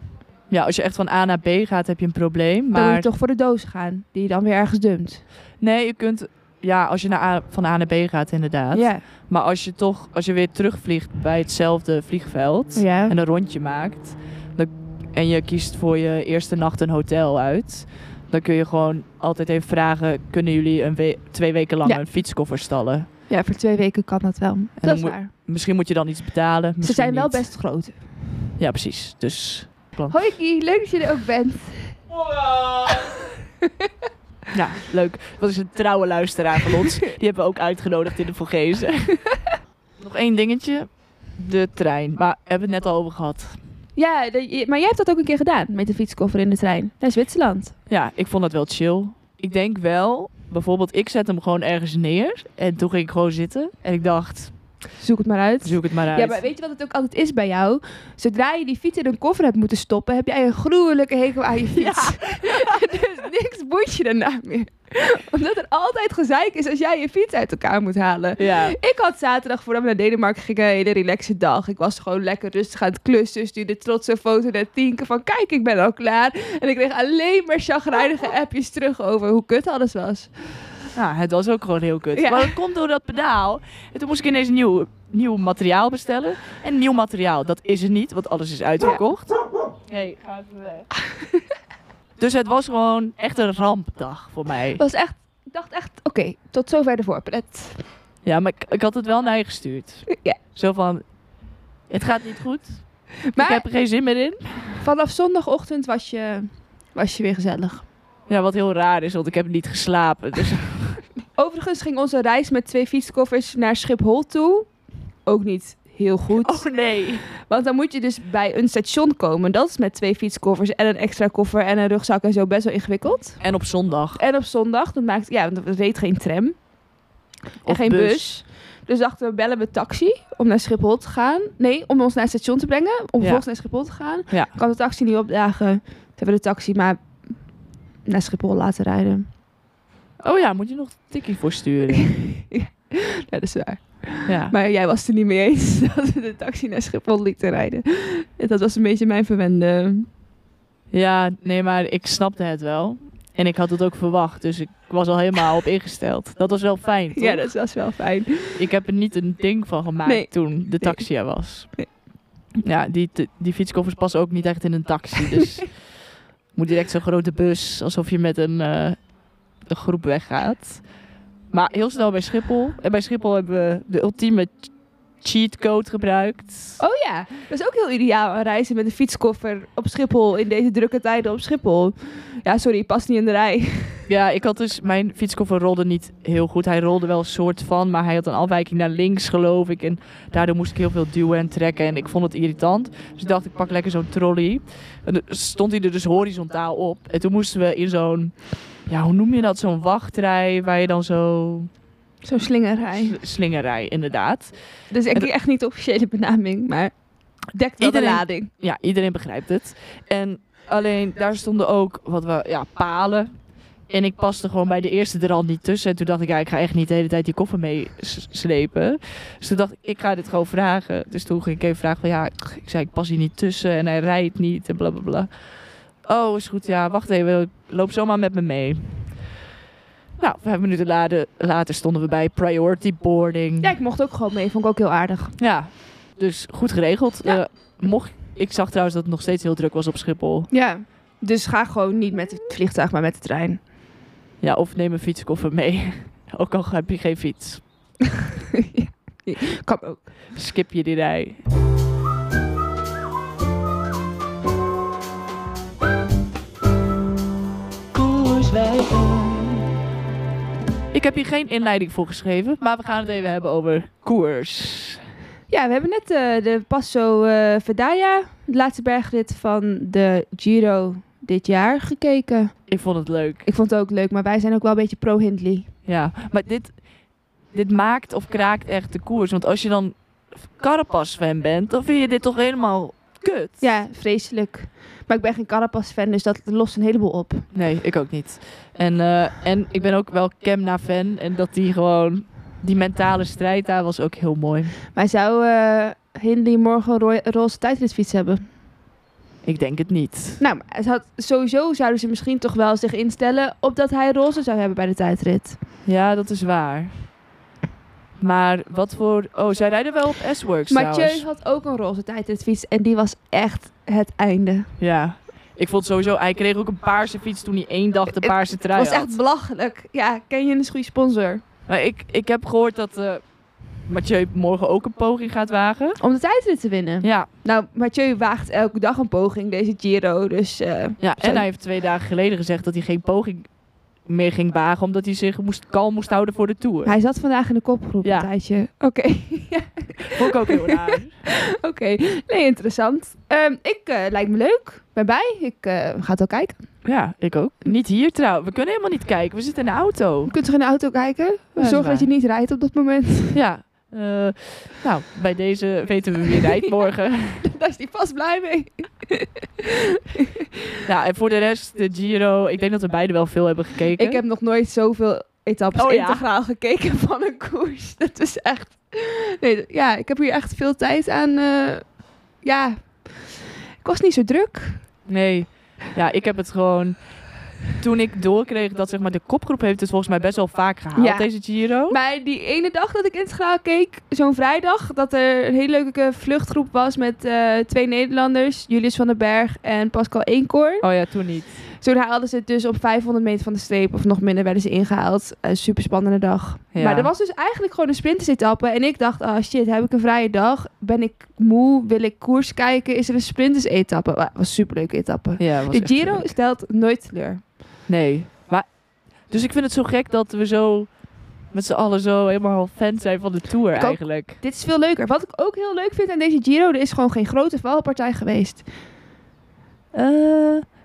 Speaker 1: Ja, als je echt van A naar B gaat, heb je een probleem.
Speaker 2: Dan moet
Speaker 1: Maar
Speaker 2: je toch voor de doos gaan, die je dan weer ergens dumpt.
Speaker 1: nee, je kunt... Ja, als je naar A- van A naar B gaat, inderdaad.
Speaker 2: Ja.
Speaker 1: Maar als je toch, als je weer terugvliegt bij hetzelfde vliegveld
Speaker 2: ja.
Speaker 1: en een rondje maakt dan, en je kiest voor je eerste nacht een hotel uit, dan kun je gewoon altijd even vragen: kunnen jullie een we- twee weken lang
Speaker 2: Ja.
Speaker 1: een fietskoffer stallen?
Speaker 2: ja, voor twee weken kan dat wel.
Speaker 1: dan
Speaker 2: Dat is
Speaker 1: moet-
Speaker 2: waar.
Speaker 1: Misschien moet je dan iets betalen.
Speaker 2: Ze
Speaker 1: misschien
Speaker 2: zijn wel
Speaker 1: niet.
Speaker 2: best groot.
Speaker 1: Ja, precies. Dus
Speaker 2: Hoi Kie, leuk dat je er ook bent.
Speaker 1: ja, leuk. Dat is een trouwe luisteraar van ons. Die hebben we ook uitgenodigd in de Vogezen. Nog één dingetje: de trein. Maar hebben we het net al over gehad.
Speaker 2: Ja, de- je- maar jij hebt dat ook een keer gedaan met de fietskoffer in de trein naar Zwitserland.
Speaker 1: Ja, ik vond dat wel chill. Ik denk wel, bijvoorbeeld, ik zet hem gewoon ergens neer. En toen ging ik gewoon zitten. En ik dacht,
Speaker 2: Zoek het maar uit.
Speaker 1: zoek het maar uit.
Speaker 2: Ja, maar weet je wat het ook altijd is bij jou? Zodra je die fiets in een koffer hebt moeten stoppen, heb jij een gruwelijke hekel aan je fiets. dus niks boeit je daarna meer. Omdat er altijd gezeik is als jij je fiets uit elkaar moet halen.
Speaker 1: Ja,
Speaker 2: Ik had zaterdag voordat we naar Denemarken gingen een hele relaxe dag. Ik was gewoon lekker rustig aan het klussen. Stuurde trots een foto naar Tienke van kijk, ik ben al klaar. En ik kreeg alleen maar chagrijnige appjes terug over hoe kut alles was.
Speaker 1: nou, het was ook gewoon heel kut.
Speaker 2: Ja.
Speaker 1: Maar dat komt door dat pedaal. En toen moest ik ineens nieuw, nieuw materiaal bestellen. En nieuw materiaal, dat is er niet, want alles is uitverkocht. Nee, ga even weg. dus het was gewoon echt een rampdag voor mij.
Speaker 2: Het was echt, ik dacht echt, oké, tot zover de voorpret.
Speaker 1: Ja, maar ik, ik had het wel naar je gestuurd.
Speaker 2: Ja.
Speaker 1: Zo van, het gaat niet goed.
Speaker 2: Maar-
Speaker 1: Ik heb er geen zin meer in.
Speaker 2: Vanaf zondagochtend was je, was je weer gezellig.
Speaker 1: Ja, wat heel raar is, want ik heb niet geslapen. Dus
Speaker 2: Overigens ging onze reis met twee fietskoffers naar Schiphol toe. Ook niet heel goed.
Speaker 1: Oh. nee.
Speaker 2: Want dan moet je dus bij een station komen. Dat is met twee fietskoffers en een extra koffer en een rugzak en zo best wel ingewikkeld.
Speaker 1: En op zondag.
Speaker 2: En op zondag, dat maakt, ja, want er reed geen tram en
Speaker 1: Of
Speaker 2: geen bus. Dus dachten we, bellen we taxi om naar Schiphol te gaan. Nee, om ons naar het station te brengen. Om vervolgens naar Schiphol te gaan.
Speaker 1: Ja.
Speaker 2: Kan de taxi niet opdagen. Toen hebben we de taxi maar naar Schiphol laten rijden.
Speaker 1: Oh ja, moet je nog een tikkie voor sturen.
Speaker 2: Ja, dat is waar.
Speaker 1: ja.
Speaker 2: Maar jij was het er niet mee eens dat we de taxi naar Schiphol lieten rijden. Dat was een beetje mijn verwende.
Speaker 1: ja, nee, maar ik snapte het wel. En ik had het ook verwacht, dus ik was al helemaal op ingesteld. Dat was wel fijn, toch?
Speaker 2: Ja, dat was wel fijn.
Speaker 1: Ik heb er niet een ding van gemaakt
Speaker 2: Nee.
Speaker 1: toen de taxi er was.
Speaker 2: Nee.
Speaker 1: Ja, die, t- die fietskoffers passen ook niet echt in een taxi, dus... moet direct zo'n grote bus, alsof je met een, eh, een groep weggaat. Maar heel snel bij Schiphol. En bij Schiphol hebben we de ultieme ch- cheatcode gebruikt.
Speaker 2: Oh ja, dat is ook heel ideaal. Een reizen met een fietskoffer op Schiphol in deze drukke tijden op Schiphol. Ja, sorry, past niet in de rij.
Speaker 1: Ja, ik had dus... Mijn fietskoffer rolde niet heel goed. Hij rolde wel een soort van, maar hij had een afwijking naar links, geloof ik. En daardoor moest ik heel veel duwen en trekken. En ik vond het irritant. Dus ik dacht, ik pak lekker zo'n trolley. En dan stond hij er dus horizontaal op. En toen moesten we in zo'n... Ja, hoe noem je dat? Zo'n wachtrij waar je dan zo...
Speaker 2: Zo'n slingerrij.
Speaker 1: Slingerij, inderdaad.
Speaker 2: Dus ik echt niet de officiële benaming, maar dekt wel de
Speaker 1: Iedereen-
Speaker 2: lading.
Speaker 1: ja, iedereen begrijpt het. En alleen daar stonden ook wat we, ja, palen. En ik paste gewoon bij de eerste er al niet tussen. En toen dacht ik, ja, ik ga echt niet de hele tijd die koffer mee s- slepen. Dus toen dacht ik, ik ga dit gewoon vragen. Dus toen ging ik even vragen van, ja, ik zei, ik pas hier niet tussen. En hij rijdt niet en blablabla. Oh, is goed, ja, wacht even. Loop zomaar met me mee. Nou, vijf minuten later, later stonden we bij priority boarding.
Speaker 2: Ja, ik mocht ook gewoon mee. Vond ik ook heel aardig.
Speaker 1: Ja, dus goed geregeld.
Speaker 2: Ja.
Speaker 1: Eh, mocht, ik zag trouwens dat het nog steeds heel druk was op Schiphol.
Speaker 2: Ja. Dus ga gewoon niet met het vliegtuig, maar met de trein.
Speaker 1: Ja, of neem een fietskoffer mee. Ook al heb je geen fiets.
Speaker 2: ja. Kan ook.
Speaker 1: Skip je die rij. Ik heb hier geen inleiding voor geschreven, maar we gaan het even hebben over koers.
Speaker 2: Ja, we hebben net eh, de Passo eh Vedaya, de laatste bergrit van de Giro dit jaar, gekeken.
Speaker 1: Ik vond het leuk.
Speaker 2: Ik vond het ook leuk, maar wij zijn ook wel een beetje pro-Hindley.
Speaker 1: Ja, maar dit, dit maakt of kraakt echt de koers. Want als je dan Carapaz-fan bent, dan vind je dit toch helemaal kut.
Speaker 2: Ja, vreselijk. Maar ik ben geen Carapas-fan, dus dat lost een heleboel op.
Speaker 1: Nee, ik ook niet. En, eh, en ik ben ook wel Kemna-fan. En dat die gewoon... Die mentale strijd daar was ook heel mooi.
Speaker 2: Maar zou eh Hindley morgen een rooi- een roze tijdritfiets hebben?
Speaker 1: Ik denk het niet.
Speaker 2: Nou, maar het had, sowieso zouden ze misschien toch wel zich instellen op dat hij roze zou hebben bij de tijdrit.
Speaker 1: Ja, dat is waar. Maar wat voor... Oh, zij rijden wel op S-Works
Speaker 2: Mathieu
Speaker 1: trouwens.
Speaker 2: had ook een roze tijdritfiets en die was echt het einde.
Speaker 1: Ja. Ik vond sowieso... Hij kreeg ook een paarse fiets toen hij één dag de
Speaker 2: Het
Speaker 1: paarse trui
Speaker 2: Dat was
Speaker 1: had.
Speaker 2: echt belachelijk. Ja, ken je een goede sponsor?
Speaker 1: Maar ik, ik heb gehoord dat eh Mathieu morgen ook een poging gaat wagen.
Speaker 2: Om de tijdrit te winnen.
Speaker 1: Ja,
Speaker 2: Nou, Mathieu waagt elke dag een poging, deze Giro. Dus eh,
Speaker 1: ja.
Speaker 2: Zo.
Speaker 1: en hij heeft twee dagen geleden gezegd dat hij geen poging meer ging wagen... omdat hij zich moest, kalm moest houden voor de Tour.
Speaker 2: hij zat vandaag in de kopgroep
Speaker 1: Ja.
Speaker 2: een tijdje. Oké.
Speaker 1: Vond ik ook heel raar.
Speaker 2: Oké, nee, interessant. Ehm, ik eh, lijkt me leuk. Ben bij. Ik eh, ga het wel kijken.
Speaker 1: Ja, ik ook. Niet hier trouwens. We kunnen helemaal niet kijken. We zitten in de auto.
Speaker 2: Je kunt toch in de auto kijken?
Speaker 1: dat is
Speaker 2: Zorg
Speaker 1: waar.
Speaker 2: dat je niet rijdt op dat moment.
Speaker 1: Ja. eh, nou, bij deze weten we wie rijdt morgen.
Speaker 2: Daar is hij vast blij mee.
Speaker 1: Nou, en voor de rest, de Giro. Ik denk dat we beide wel veel hebben gekeken.
Speaker 2: Ik heb nog nooit zoveel etappes
Speaker 1: Oh, ja.
Speaker 2: integraal gekeken van een koers. Dat is echt... Nee, d- ja, ik heb hier echt veel tijd aan... eh, Ja, ik was niet zo druk.
Speaker 1: Nee. Ja, ik heb het gewoon... Toen ik doorkreeg dat zeg maar, de kopgroep heeft het volgens mij best wel vaak gehaald,
Speaker 2: Ja.
Speaker 1: deze Giro.
Speaker 2: Maar die ene dag dat ik integraal keek, zo'n vrijdag, dat er een hele leuke vluchtgroep was met eh, twee Nederlanders. Julius van den Berg en Pascal Eenkoorn.
Speaker 1: Oh ja, toen niet.
Speaker 2: Toen haalden ze het dus op 500 meter van de streep of nog minder werden ze ingehaald. Een super spannende dag.
Speaker 1: Ja.
Speaker 2: Maar er was dus eigenlijk gewoon een sprintersetappe. En ik dacht, ah shit, heb ik een vrije dag? Ben ik moe? Wil ik koers kijken? Is er een sprintersetappe? Maar Het was een superleuke etappe.
Speaker 1: Ja, was
Speaker 2: De
Speaker 1: echt
Speaker 2: Giro
Speaker 1: leuk.
Speaker 2: stelt nooit teleur.
Speaker 1: Nee. Maar, dus ik vind het zo gek dat we zo met z'n allen zo helemaal fan zijn van de Tour
Speaker 2: ook.
Speaker 1: eigenlijk.
Speaker 2: Dit is veel leuker. Wat ik ook heel leuk vind aan deze Giro, er is gewoon geen grote valpartij geweest.
Speaker 1: Eh,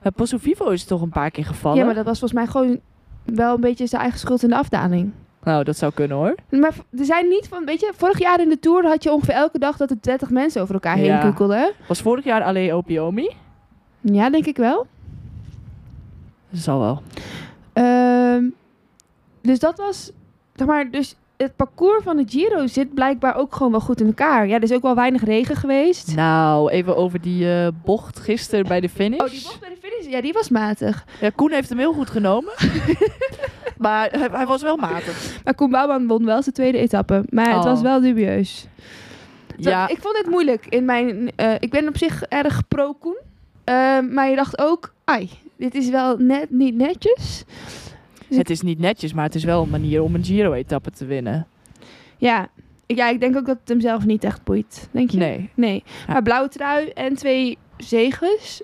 Speaker 1: het Posso Vivo is toch een paar keer gevallen?
Speaker 2: Ja, maar dat was volgens mij gewoon wel een beetje zijn eigen schuld in de afdaling.
Speaker 1: Nou, dat zou kunnen hoor.
Speaker 2: Maar v- er zijn niet van, weet je, vorig jaar in de Tour had je ongeveer elke dag dat er 30 mensen over elkaar heen
Speaker 1: Ja.
Speaker 2: kukkelden.
Speaker 1: Was vorig jaar alleen Opiomi?
Speaker 2: Ja, denk ik wel.
Speaker 1: Dat zal wel.
Speaker 2: Ehm, dus dat was, zeg maar, dus het parcours van de Giro zit blijkbaar ook gewoon wel goed in elkaar. Ja, er is ook wel weinig regen geweest.
Speaker 1: Nou, even over die eh, bocht gisteren bij de finish.
Speaker 2: Oh, die bocht bij de finish, ja, die was matig.
Speaker 1: Ja, Koen heeft hem heel goed genomen. maar hij, hij was wel matig.
Speaker 2: Maar Koen Bouwman won wel zijn tweede etappe, maar
Speaker 1: Oh.
Speaker 2: het was wel dubieus.
Speaker 1: Ja,
Speaker 2: Ik vond het moeilijk in mijn, eh, ik ben op zich erg pro Koen, Ehm, maar je dacht ook, ai, dit is wel net niet netjes.
Speaker 1: het is niet netjes, maar het is wel een manier om een Giro-etappe te winnen.
Speaker 2: Ja, ik- ja, ik denk ook dat het hem zelf niet echt boeit, denk je?
Speaker 1: Nee.
Speaker 2: Nee.
Speaker 1: Ja.
Speaker 2: Maar blauwe trui en twee zegens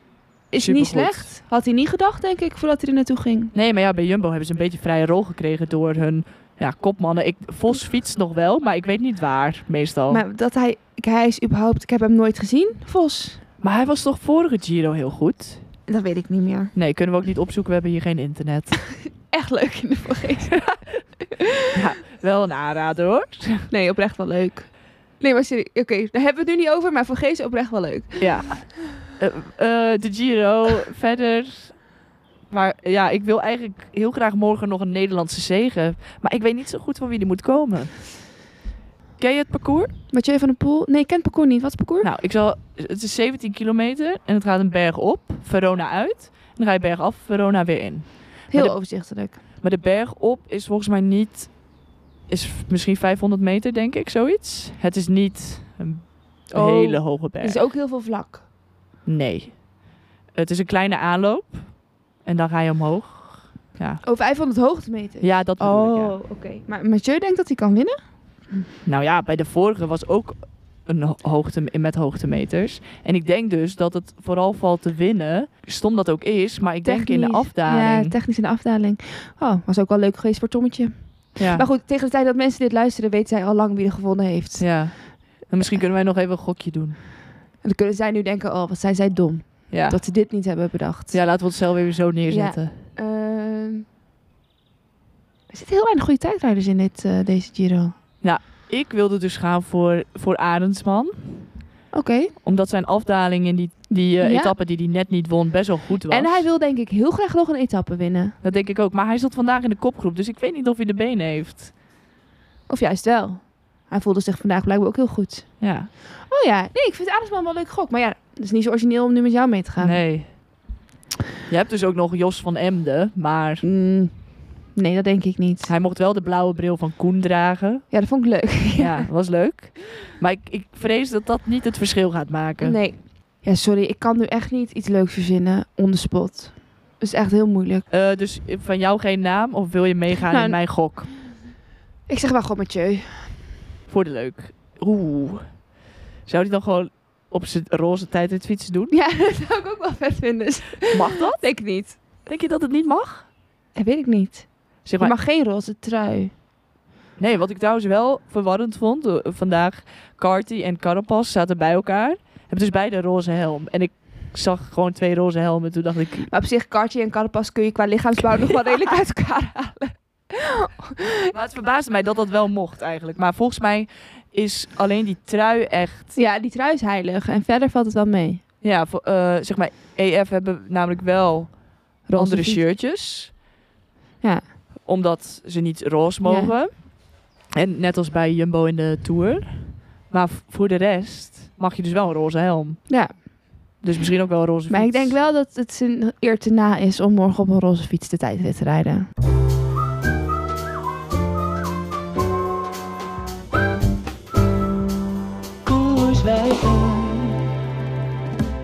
Speaker 2: is
Speaker 1: Supergoed.
Speaker 2: niet slecht. Had hij niet gedacht, denk ik, voordat hij er naartoe ging.
Speaker 1: Nee, maar ja, bij Jumbo hebben ze een beetje vrije rol gekregen door hun ja, kopmannen. Ik, Vos fietst nog wel, maar ik weet niet waar meestal. Maar,
Speaker 2: Maar dat hij, ik- hij is überhaupt, ik heb hem nooit gezien, Vos.
Speaker 1: hij was toch vorige Giro heel goed?
Speaker 2: Dat weet ik niet meer.
Speaker 1: Nee, kunnen we ook niet opzoeken. We hebben hier geen internet.
Speaker 2: Echt leuk in de vergeten.
Speaker 1: wel een aanrader hoor.
Speaker 2: Nee, oprecht wel leuk. Nee, maar serieus. Oké, daar hebben we het nu niet over, maar voor Gees oprecht wel leuk.
Speaker 1: Ja. Eh, eh, de Giro, verder. Maar ja, ik wil eigenlijk heel graag morgen nog een Nederlandse zegen. Maar ik weet niet zo goed van wie die moet komen. Ken je het parcours?
Speaker 2: Mathieu van der Poel. Nee, ik ken het parcours niet. Wat is het parcours?
Speaker 1: Nou, ik zal, het is 17 kilometer en het gaat een berg op, Verona uit. En dan ga je berg af, Verona weer in.
Speaker 2: Heel
Speaker 1: maar de-
Speaker 2: overzichtelijk.
Speaker 1: Maar de berg op is volgens mij niet... Is f- misschien 500 meter, denk ik, zoiets. Het is niet een
Speaker 2: Oh,
Speaker 1: hele hoge berg.
Speaker 2: Er is ook heel veel vlak.
Speaker 1: Nee. Het is een kleine aanloop. En dan ga je omhoog.
Speaker 2: Oh, 500 hoogtemeters.
Speaker 1: Ja, dat bedoel ik, ja.
Speaker 2: Oh, oké. Maar Mathieu denkt dat hij kan winnen?
Speaker 1: Nou ja, bij de vorige was ook een ho- hoogte, met hoogtemeters. En ik denk dus dat het vooral valt te winnen. Stom dat ook is, maar ik denk in de
Speaker 2: Technisch. Ja,
Speaker 1: afdaling.
Speaker 2: technisch in de afdaling. Oh, was ook wel leuk geweest voor Tommetje.
Speaker 1: Ja,
Speaker 2: Maar goed, tegen de tijd dat mensen dit luisteren, weten zij al lang wie er gewonnen heeft.
Speaker 1: ja. En misschien kunnen wij nog even een gokje doen.
Speaker 2: En dan kunnen zij nu denken, oh, wat zijn zij dom.
Speaker 1: Ja,
Speaker 2: Dat ze dit niet hebben bedacht.
Speaker 1: ja laten we onszelf weer zo neerzetten.
Speaker 2: Ehm, er zitten heel weinig goede tijdrijders in dit, eh, deze Giro.
Speaker 1: Ik wilde dus gaan voor, voor Arendsman.
Speaker 2: Oké.
Speaker 1: Omdat zijn afdaling in die, die eh,
Speaker 2: Ja.
Speaker 1: etappe die hij net niet won best wel goed was.
Speaker 2: En hij wil denk ik heel graag nog een etappe winnen.
Speaker 1: Dat denk ik ook. Maar hij zat vandaag in de kopgroep, dus ik weet niet of hij de benen heeft.
Speaker 2: Of juist wel. Hij voelde zich vandaag blijkbaar ook heel goed.
Speaker 1: Ja,
Speaker 2: Oh ja, nee, ik vind Adelsman wel een leuk gok. Maar ja, het is niet zo origineel om nu met jou mee te gaan.
Speaker 1: nee. Je hebt dus ook nog Jos van Emden, maar
Speaker 2: Mm, nee, dat denk ik niet.
Speaker 1: hij mocht wel de blauwe bril van Koen dragen.
Speaker 2: Ja, dat vond ik leuk.
Speaker 1: Ja, was leuk. Maar ik, ik vrees dat dat niet het verschil gaat maken.
Speaker 2: Nee. Ja, sorry, ik kan nu echt niet iets leuks verzinnen on the spot. Dat is echt heel moeilijk.
Speaker 1: Eh, dus van jou geen naam of wil je meegaan
Speaker 2: Nou,
Speaker 1: in mijn gok?
Speaker 2: Ik zeg wel gewoon Mathieu.
Speaker 1: Voor de leuk. Oeh. Zou hij dan gewoon op zijn roze tijdritfiets doen?
Speaker 2: Ja, dat zou ik ook wel vet vinden.
Speaker 1: Mag dat?
Speaker 2: Denk ik niet.
Speaker 1: Denk je dat het niet mag?
Speaker 2: Dat weet ik niet.
Speaker 1: Zeg
Speaker 2: Je
Speaker 1: maar,
Speaker 2: mag geen roze trui.
Speaker 1: Nee, wat ik trouwens wel verwarrend vond. eh, Vandaag Carty en Carapaz zaten bij elkaar. Hebben dus beide een roze helm. En ik zag gewoon twee roze helmen. Toen dacht ik,
Speaker 2: Maar op zich, Cartier en Carapas kun je qua lichaamsbouw nog wel redelijk uit elkaar halen.
Speaker 1: Maar het verbaasde mij dat dat wel mocht eigenlijk. Maar volgens mij is alleen die trui echt...
Speaker 2: Ja, die trui is heilig. En verder valt het wel mee.
Speaker 1: Ja, vo- eh, zeg maar, EF hebben namelijk wel
Speaker 2: Roze
Speaker 1: andere
Speaker 2: fiets.
Speaker 1: shirtjes.
Speaker 2: Ja.
Speaker 1: Omdat ze niet roze mogen. En net als bij Jumbo in de Tour. Maar v- voor de rest mag je dus wel een roze helm.
Speaker 2: Ja,
Speaker 1: Dus misschien ook wel een roze
Speaker 2: maar ik
Speaker 1: fiets.
Speaker 2: denk wel dat het zijn eer te na is om morgen op een roze fiets de tijdrit te rijden.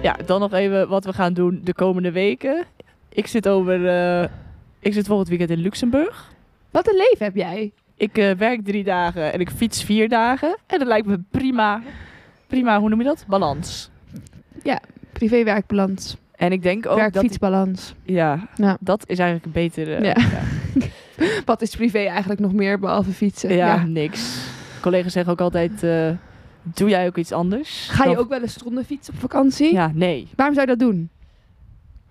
Speaker 1: Ja, dan nog even wat we gaan doen de komende weken. Ik zit over... eh, ik zit volgend weekend in Luxemburg.
Speaker 2: Wat een leven heb jij.
Speaker 1: Ik eh, werk drie dagen en ik fiets vier dagen. En dat lijkt me prima. Prima, hoe noem je dat? Balans.
Speaker 2: Privé-werkbalans.
Speaker 1: En ik denk ook dat...
Speaker 2: Werk-fietsbalans.
Speaker 1: Ja,
Speaker 2: Ja.
Speaker 1: dat is eigenlijk een betere...
Speaker 2: Ja.
Speaker 1: ja.
Speaker 2: Wat is privé eigenlijk nog meer behalve fietsen?
Speaker 1: Ja, niks. Collega's zeggen ook altijd, eh, doe jij ook iets anders?
Speaker 2: Ga je
Speaker 1: Dan-
Speaker 2: ook wel eens zonder fiets op vakantie?
Speaker 1: Ja, nee.
Speaker 2: Waarom zou je dat doen?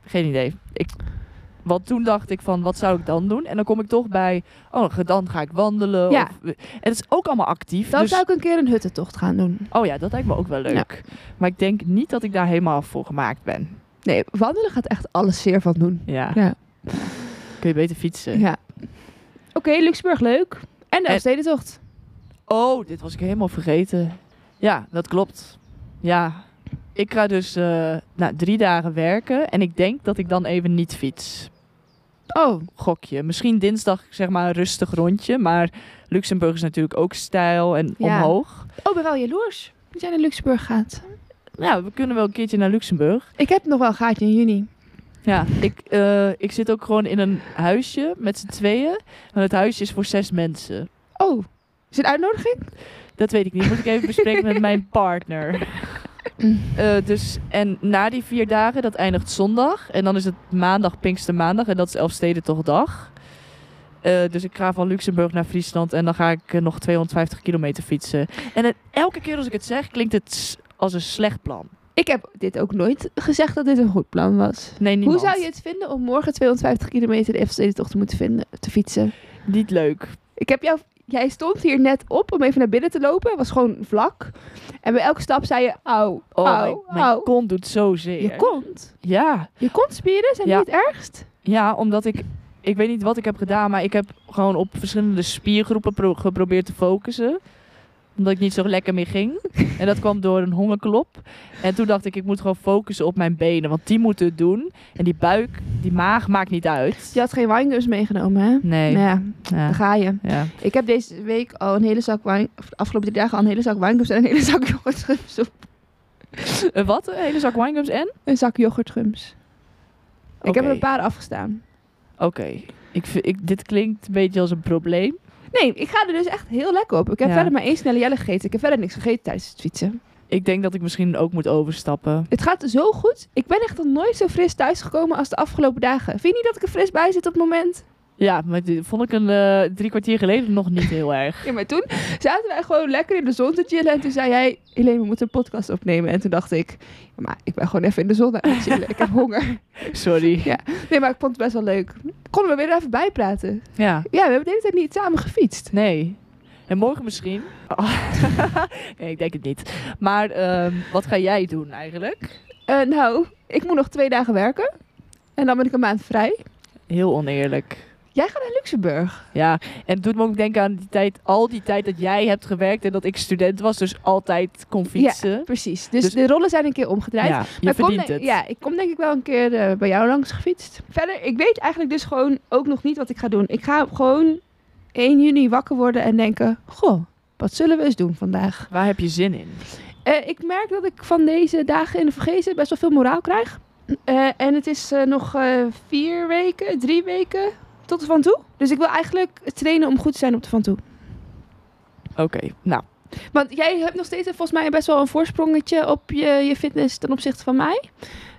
Speaker 1: Geen idee. Ik, want toen dacht ik van, wat zou ik dan doen? En dan kom ik toch bij, oh, ge- dan ga ik wandelen.
Speaker 2: Ja.
Speaker 1: Of, en het is ook allemaal actief.
Speaker 2: Dan
Speaker 1: dus,
Speaker 2: zou ik een keer een huttentocht gaan doen.
Speaker 1: Oh ja, dat lijkt me ook wel leuk. Maar ik denk niet dat ik daar helemaal voor gemaakt ben.
Speaker 2: Nee, wandelen gaat echt alles zeer van doen.
Speaker 1: Ja.
Speaker 2: Ja.
Speaker 1: Kun je beter fietsen.
Speaker 2: Ja. Oké, Luxemburg leuk. En de
Speaker 1: En-
Speaker 2: Elfstedentocht.
Speaker 1: Oh, dit was ik helemaal vergeten. Ja, dat klopt. Ja, ik ga dus eh nou, drie dagen werken en ik denk dat ik dan even niet fiets.
Speaker 2: Oh,
Speaker 1: Gokje. Misschien dinsdag zeg maar een rustig rondje, maar Luxemburg is natuurlijk ook stijl en
Speaker 2: Ja.
Speaker 1: omhoog.
Speaker 2: oh, ben wel jaloers dat jij naar Luxemburg gaat.
Speaker 1: Nou, we kunnen wel een keertje naar Luxemburg.
Speaker 2: Ik heb nog wel een gaatje in juni.
Speaker 1: Ja, ik, eh, ik zit ook gewoon in een huisje met z'n tweeën. En het huisje is voor zes mensen.
Speaker 2: Oh, is het een uitnodiging?
Speaker 1: Dat weet ik niet. Moet ik even bespreken met mijn partner. Eh, dus, en na die vier dagen, dat eindigt zondag. En dan is het maandag, Pinkstermaandag. En dat is Elfstedentochtdag. Eh dus ik ga van Luxemburg naar Friesland. En dan ga ik eh, nog 250 kilometer fietsen. En het- elke keer als ik het zeg, klinkt het s- als een slecht plan.
Speaker 2: Ik heb dit ook nooit gezegd dat dit een goed plan was.
Speaker 1: Nee, niemand.
Speaker 2: Hoe zou je het vinden om morgen 250 kilometer de Elfstedentocht te moeten vinden, te fietsen?
Speaker 1: Niet leuk.
Speaker 2: Ik heb jou... Jij stond hier net op om even naar binnen te lopen. Het was gewoon vlak. En bij elke stap zei je, auw,
Speaker 1: Oh,
Speaker 2: auw,
Speaker 1: mijn, mijn
Speaker 2: auw.
Speaker 1: kont doet zo zeer.
Speaker 2: Je kont.
Speaker 1: Ja.
Speaker 2: Je kontspieren zijn
Speaker 1: Ja.
Speaker 2: niet het ergst?
Speaker 1: Ja, omdat ik... Ik weet niet wat ik heb gedaan, maar ik heb gewoon op verschillende spiergroepen pro- geprobeerd te focussen. Omdat ik niet zo lekker meer ging. En dat kwam door een hongerklop. En toen dacht ik, ik moet gewoon focussen op mijn benen. Want die moeten het doen. En die buik, die maag maakt niet uit.
Speaker 2: Je had geen winegums meegenomen, hè?
Speaker 1: Nee.
Speaker 2: Nou ja,
Speaker 1: Ja.
Speaker 2: daar ga je.
Speaker 1: Ja.
Speaker 2: Ik heb deze week al een hele zak wijn, of de afgelopen drie dagen al een hele zak wijngums en een hele zak yoghurtgums op.
Speaker 1: Eh, wat? Een hele zak winegums en?
Speaker 2: Een zak yoghurtgums. Ik heb
Speaker 1: Oké.
Speaker 2: er een paar afgestaan.
Speaker 1: Oké. Ik, vind- ik, dit klinkt een beetje als een probleem.
Speaker 2: Nee, ik ga er dus echt heel lekker op. Ik heb
Speaker 1: Ja.
Speaker 2: verder maar één snelle jelle gegeten. Ik heb verder niks gegeten tijdens het fietsen.
Speaker 1: Ik denk dat ik misschien ook moet overstappen.
Speaker 2: Het gaat zo goed. Ik ben echt nog nooit zo fris thuisgekomen als de afgelopen dagen. Vind je niet dat ik er fris bij zit op het moment?
Speaker 1: Ja, maar dit vond ik een eh, drie kwartier geleden nog niet heel erg.
Speaker 2: Ja, maar toen zaten wij gewoon lekker in de zon te chillen. En toen zei jij, Helene, we moeten een podcast opnemen. En toen dacht ik, ja, maar ik ben gewoon even in de zon aan het chillen. Ik heb honger.
Speaker 1: Sorry.
Speaker 2: Ja. Nee, maar ik vond het best wel leuk. Konden we weer even bijpraten.
Speaker 1: Ja.
Speaker 2: Ja, we hebben de hele tijd niet samen gefietst.
Speaker 1: Nee. En morgen misschien. nee, ik denk het niet. Maar ehm, wat ga jij doen eigenlijk?
Speaker 2: Eh, nou, ik moet nog twee dagen werken. En dan ben ik een maand vrij.
Speaker 1: Heel oneerlijk.
Speaker 2: Jij gaat naar Luxemburg.
Speaker 1: Ja, en het doet me ook denken aan die tijd, al die tijd dat jij hebt gewerkt en dat ik student was, dus altijd kon fietsen.
Speaker 2: Precies. Dus,
Speaker 1: Dus-
Speaker 2: de rollen zijn een keer omgedraaid.
Speaker 1: Ja, je
Speaker 2: Maar ik kom
Speaker 1: verdient
Speaker 2: denk-
Speaker 1: het.
Speaker 2: Ja, ik kom denk ik wel een keer eh, bij jou langs gefietst. Verder, ik weet eigenlijk dus gewoon ook nog niet wat ik ga doen. Ik ga gewoon 1 juni wakker worden en denken... Goh, wat zullen we eens doen vandaag?
Speaker 1: Waar heb je zin in?
Speaker 2: Eh, ik merk dat ik van deze dagen in de vergezen best wel veel moraal krijg. Eh, en het is eh, nog eh, vier weken, drie weken tot de Van Toe. Dus ik wil eigenlijk trainen om goed te zijn op de Van Toe.
Speaker 1: Oké, nou,
Speaker 2: Want jij hebt nog steeds eh, volgens mij best wel een voorsprongetje op je, je fitness ten opzichte van mij.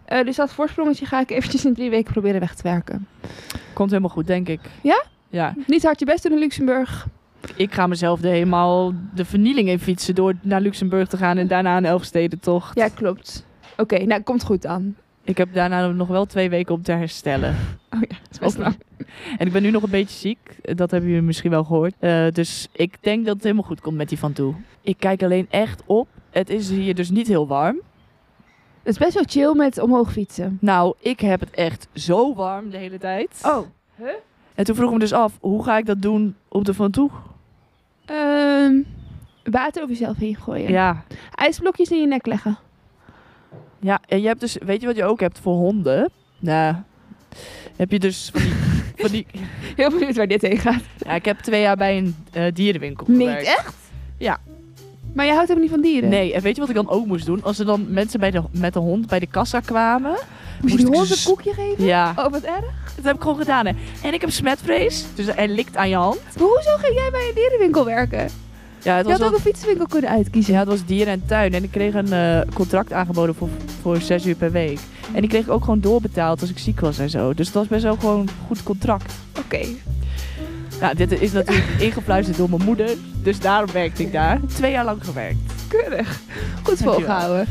Speaker 2: Eh, dus dat voorsprongetje ga ik eventjes in drie weken proberen weg te werken.
Speaker 1: komt helemaal goed, denk ik.
Speaker 2: Ja?
Speaker 1: Ja,
Speaker 2: Niet hard je best doen in Luxemburg.
Speaker 1: ik ga mezelf de helemaal de vernieling in fietsen door naar Luxemburg te gaan en daarna een Elfstedentocht.
Speaker 2: Ja, klopt. Oké, nou komt goed aan.
Speaker 1: Ik heb daarna nog wel twee weken om te herstellen.
Speaker 2: Oh ja, dat is best
Speaker 1: Ook-
Speaker 2: lang.
Speaker 1: En ik ben nu nog een beetje ziek. Dat hebben jullie misschien wel gehoord. Eh, dus ik denk dat het helemaal goed komt met die van toe. Ik kijk alleen echt op. Het is hier dus niet heel warm.
Speaker 2: Het is best wel chill met omhoog fietsen.
Speaker 1: Nou, ik heb het echt zo warm de hele tijd.
Speaker 2: Oh,
Speaker 1: En toen vroeg ik me dus af, hoe ga ik dat doen op de van toe?
Speaker 2: Ehm, water over jezelf heen gooien.
Speaker 1: Ja.
Speaker 2: Ijsblokjes in je nek leggen.
Speaker 1: Ja, en je hebt dus, weet je wat je ook hebt voor honden? Nou, heb je dus van die... Van die
Speaker 2: Heel benieuwd waar dit heen gaat.
Speaker 1: ja, ik heb twee jaar bij een eh, dierenwinkel
Speaker 2: Niet
Speaker 1: gewerkt.
Speaker 2: echt?
Speaker 1: Ja.
Speaker 2: Maar jij houdt ook niet van dieren?
Speaker 1: Nee, en weet je wat ik dan ook moest doen? Als er dan mensen bij de, met de hond bij de kassa kwamen.
Speaker 2: Moest je
Speaker 1: Moest
Speaker 2: die
Speaker 1: ik
Speaker 2: hond een
Speaker 1: dus-
Speaker 2: koekje geven?
Speaker 1: Ja.
Speaker 2: Oh, wat erg.
Speaker 1: Dat heb ik gewoon gedaan, hè. En ik heb smetvrees. Dus hij likt aan je hand.
Speaker 2: Maar hoezo ging jij bij een dierenwinkel werken?
Speaker 1: Ja, het
Speaker 2: Je
Speaker 1: was,
Speaker 2: had ook
Speaker 1: wel,
Speaker 2: een fietsenwinkel kunnen uitkiezen.
Speaker 1: ja, het was dier en tuin. En ik kreeg een eh, contract aangeboden voor, voor zes uur per week. En die kreeg ik ook gewoon doorbetaald als ik ziek was en zo. Dus het was best wel gewoon een goed contract.
Speaker 2: Oké.
Speaker 1: Nou, dit is natuurlijk ingefluisterd door mijn moeder. Dus daarom werkte ik daar. Twee jaar lang gewerkt.
Speaker 2: Keurig. Goed
Speaker 1: Dankjewel.
Speaker 2: volgehouden.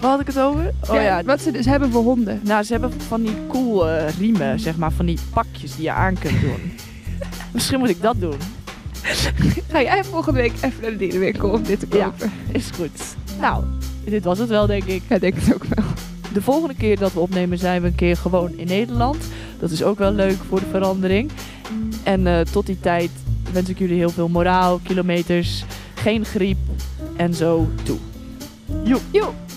Speaker 1: Waar had ik het over? Oh ja.
Speaker 2: Wat ze dus hebben voor honden.
Speaker 1: Nou, ze hebben van die cool eh, riemen, zeg maar. Van die pakjes die je aan kunt doen. Misschien moet ik dat doen.
Speaker 2: Ga jij volgende week even naar de dierenwinkel om dit te
Speaker 1: Ja.
Speaker 2: kopen? Ja,
Speaker 1: Is goed. Nou, dit was het wel, denk ik.
Speaker 2: denk het ook wel.
Speaker 1: De volgende keer dat we opnemen zijn we een keer gewoon in Nederland. Dat is ook wel leuk voor de verandering. En eh, tot die tijd wens ik jullie heel veel moraal, kilometers, geen griep en zo toe.
Speaker 2: Joe.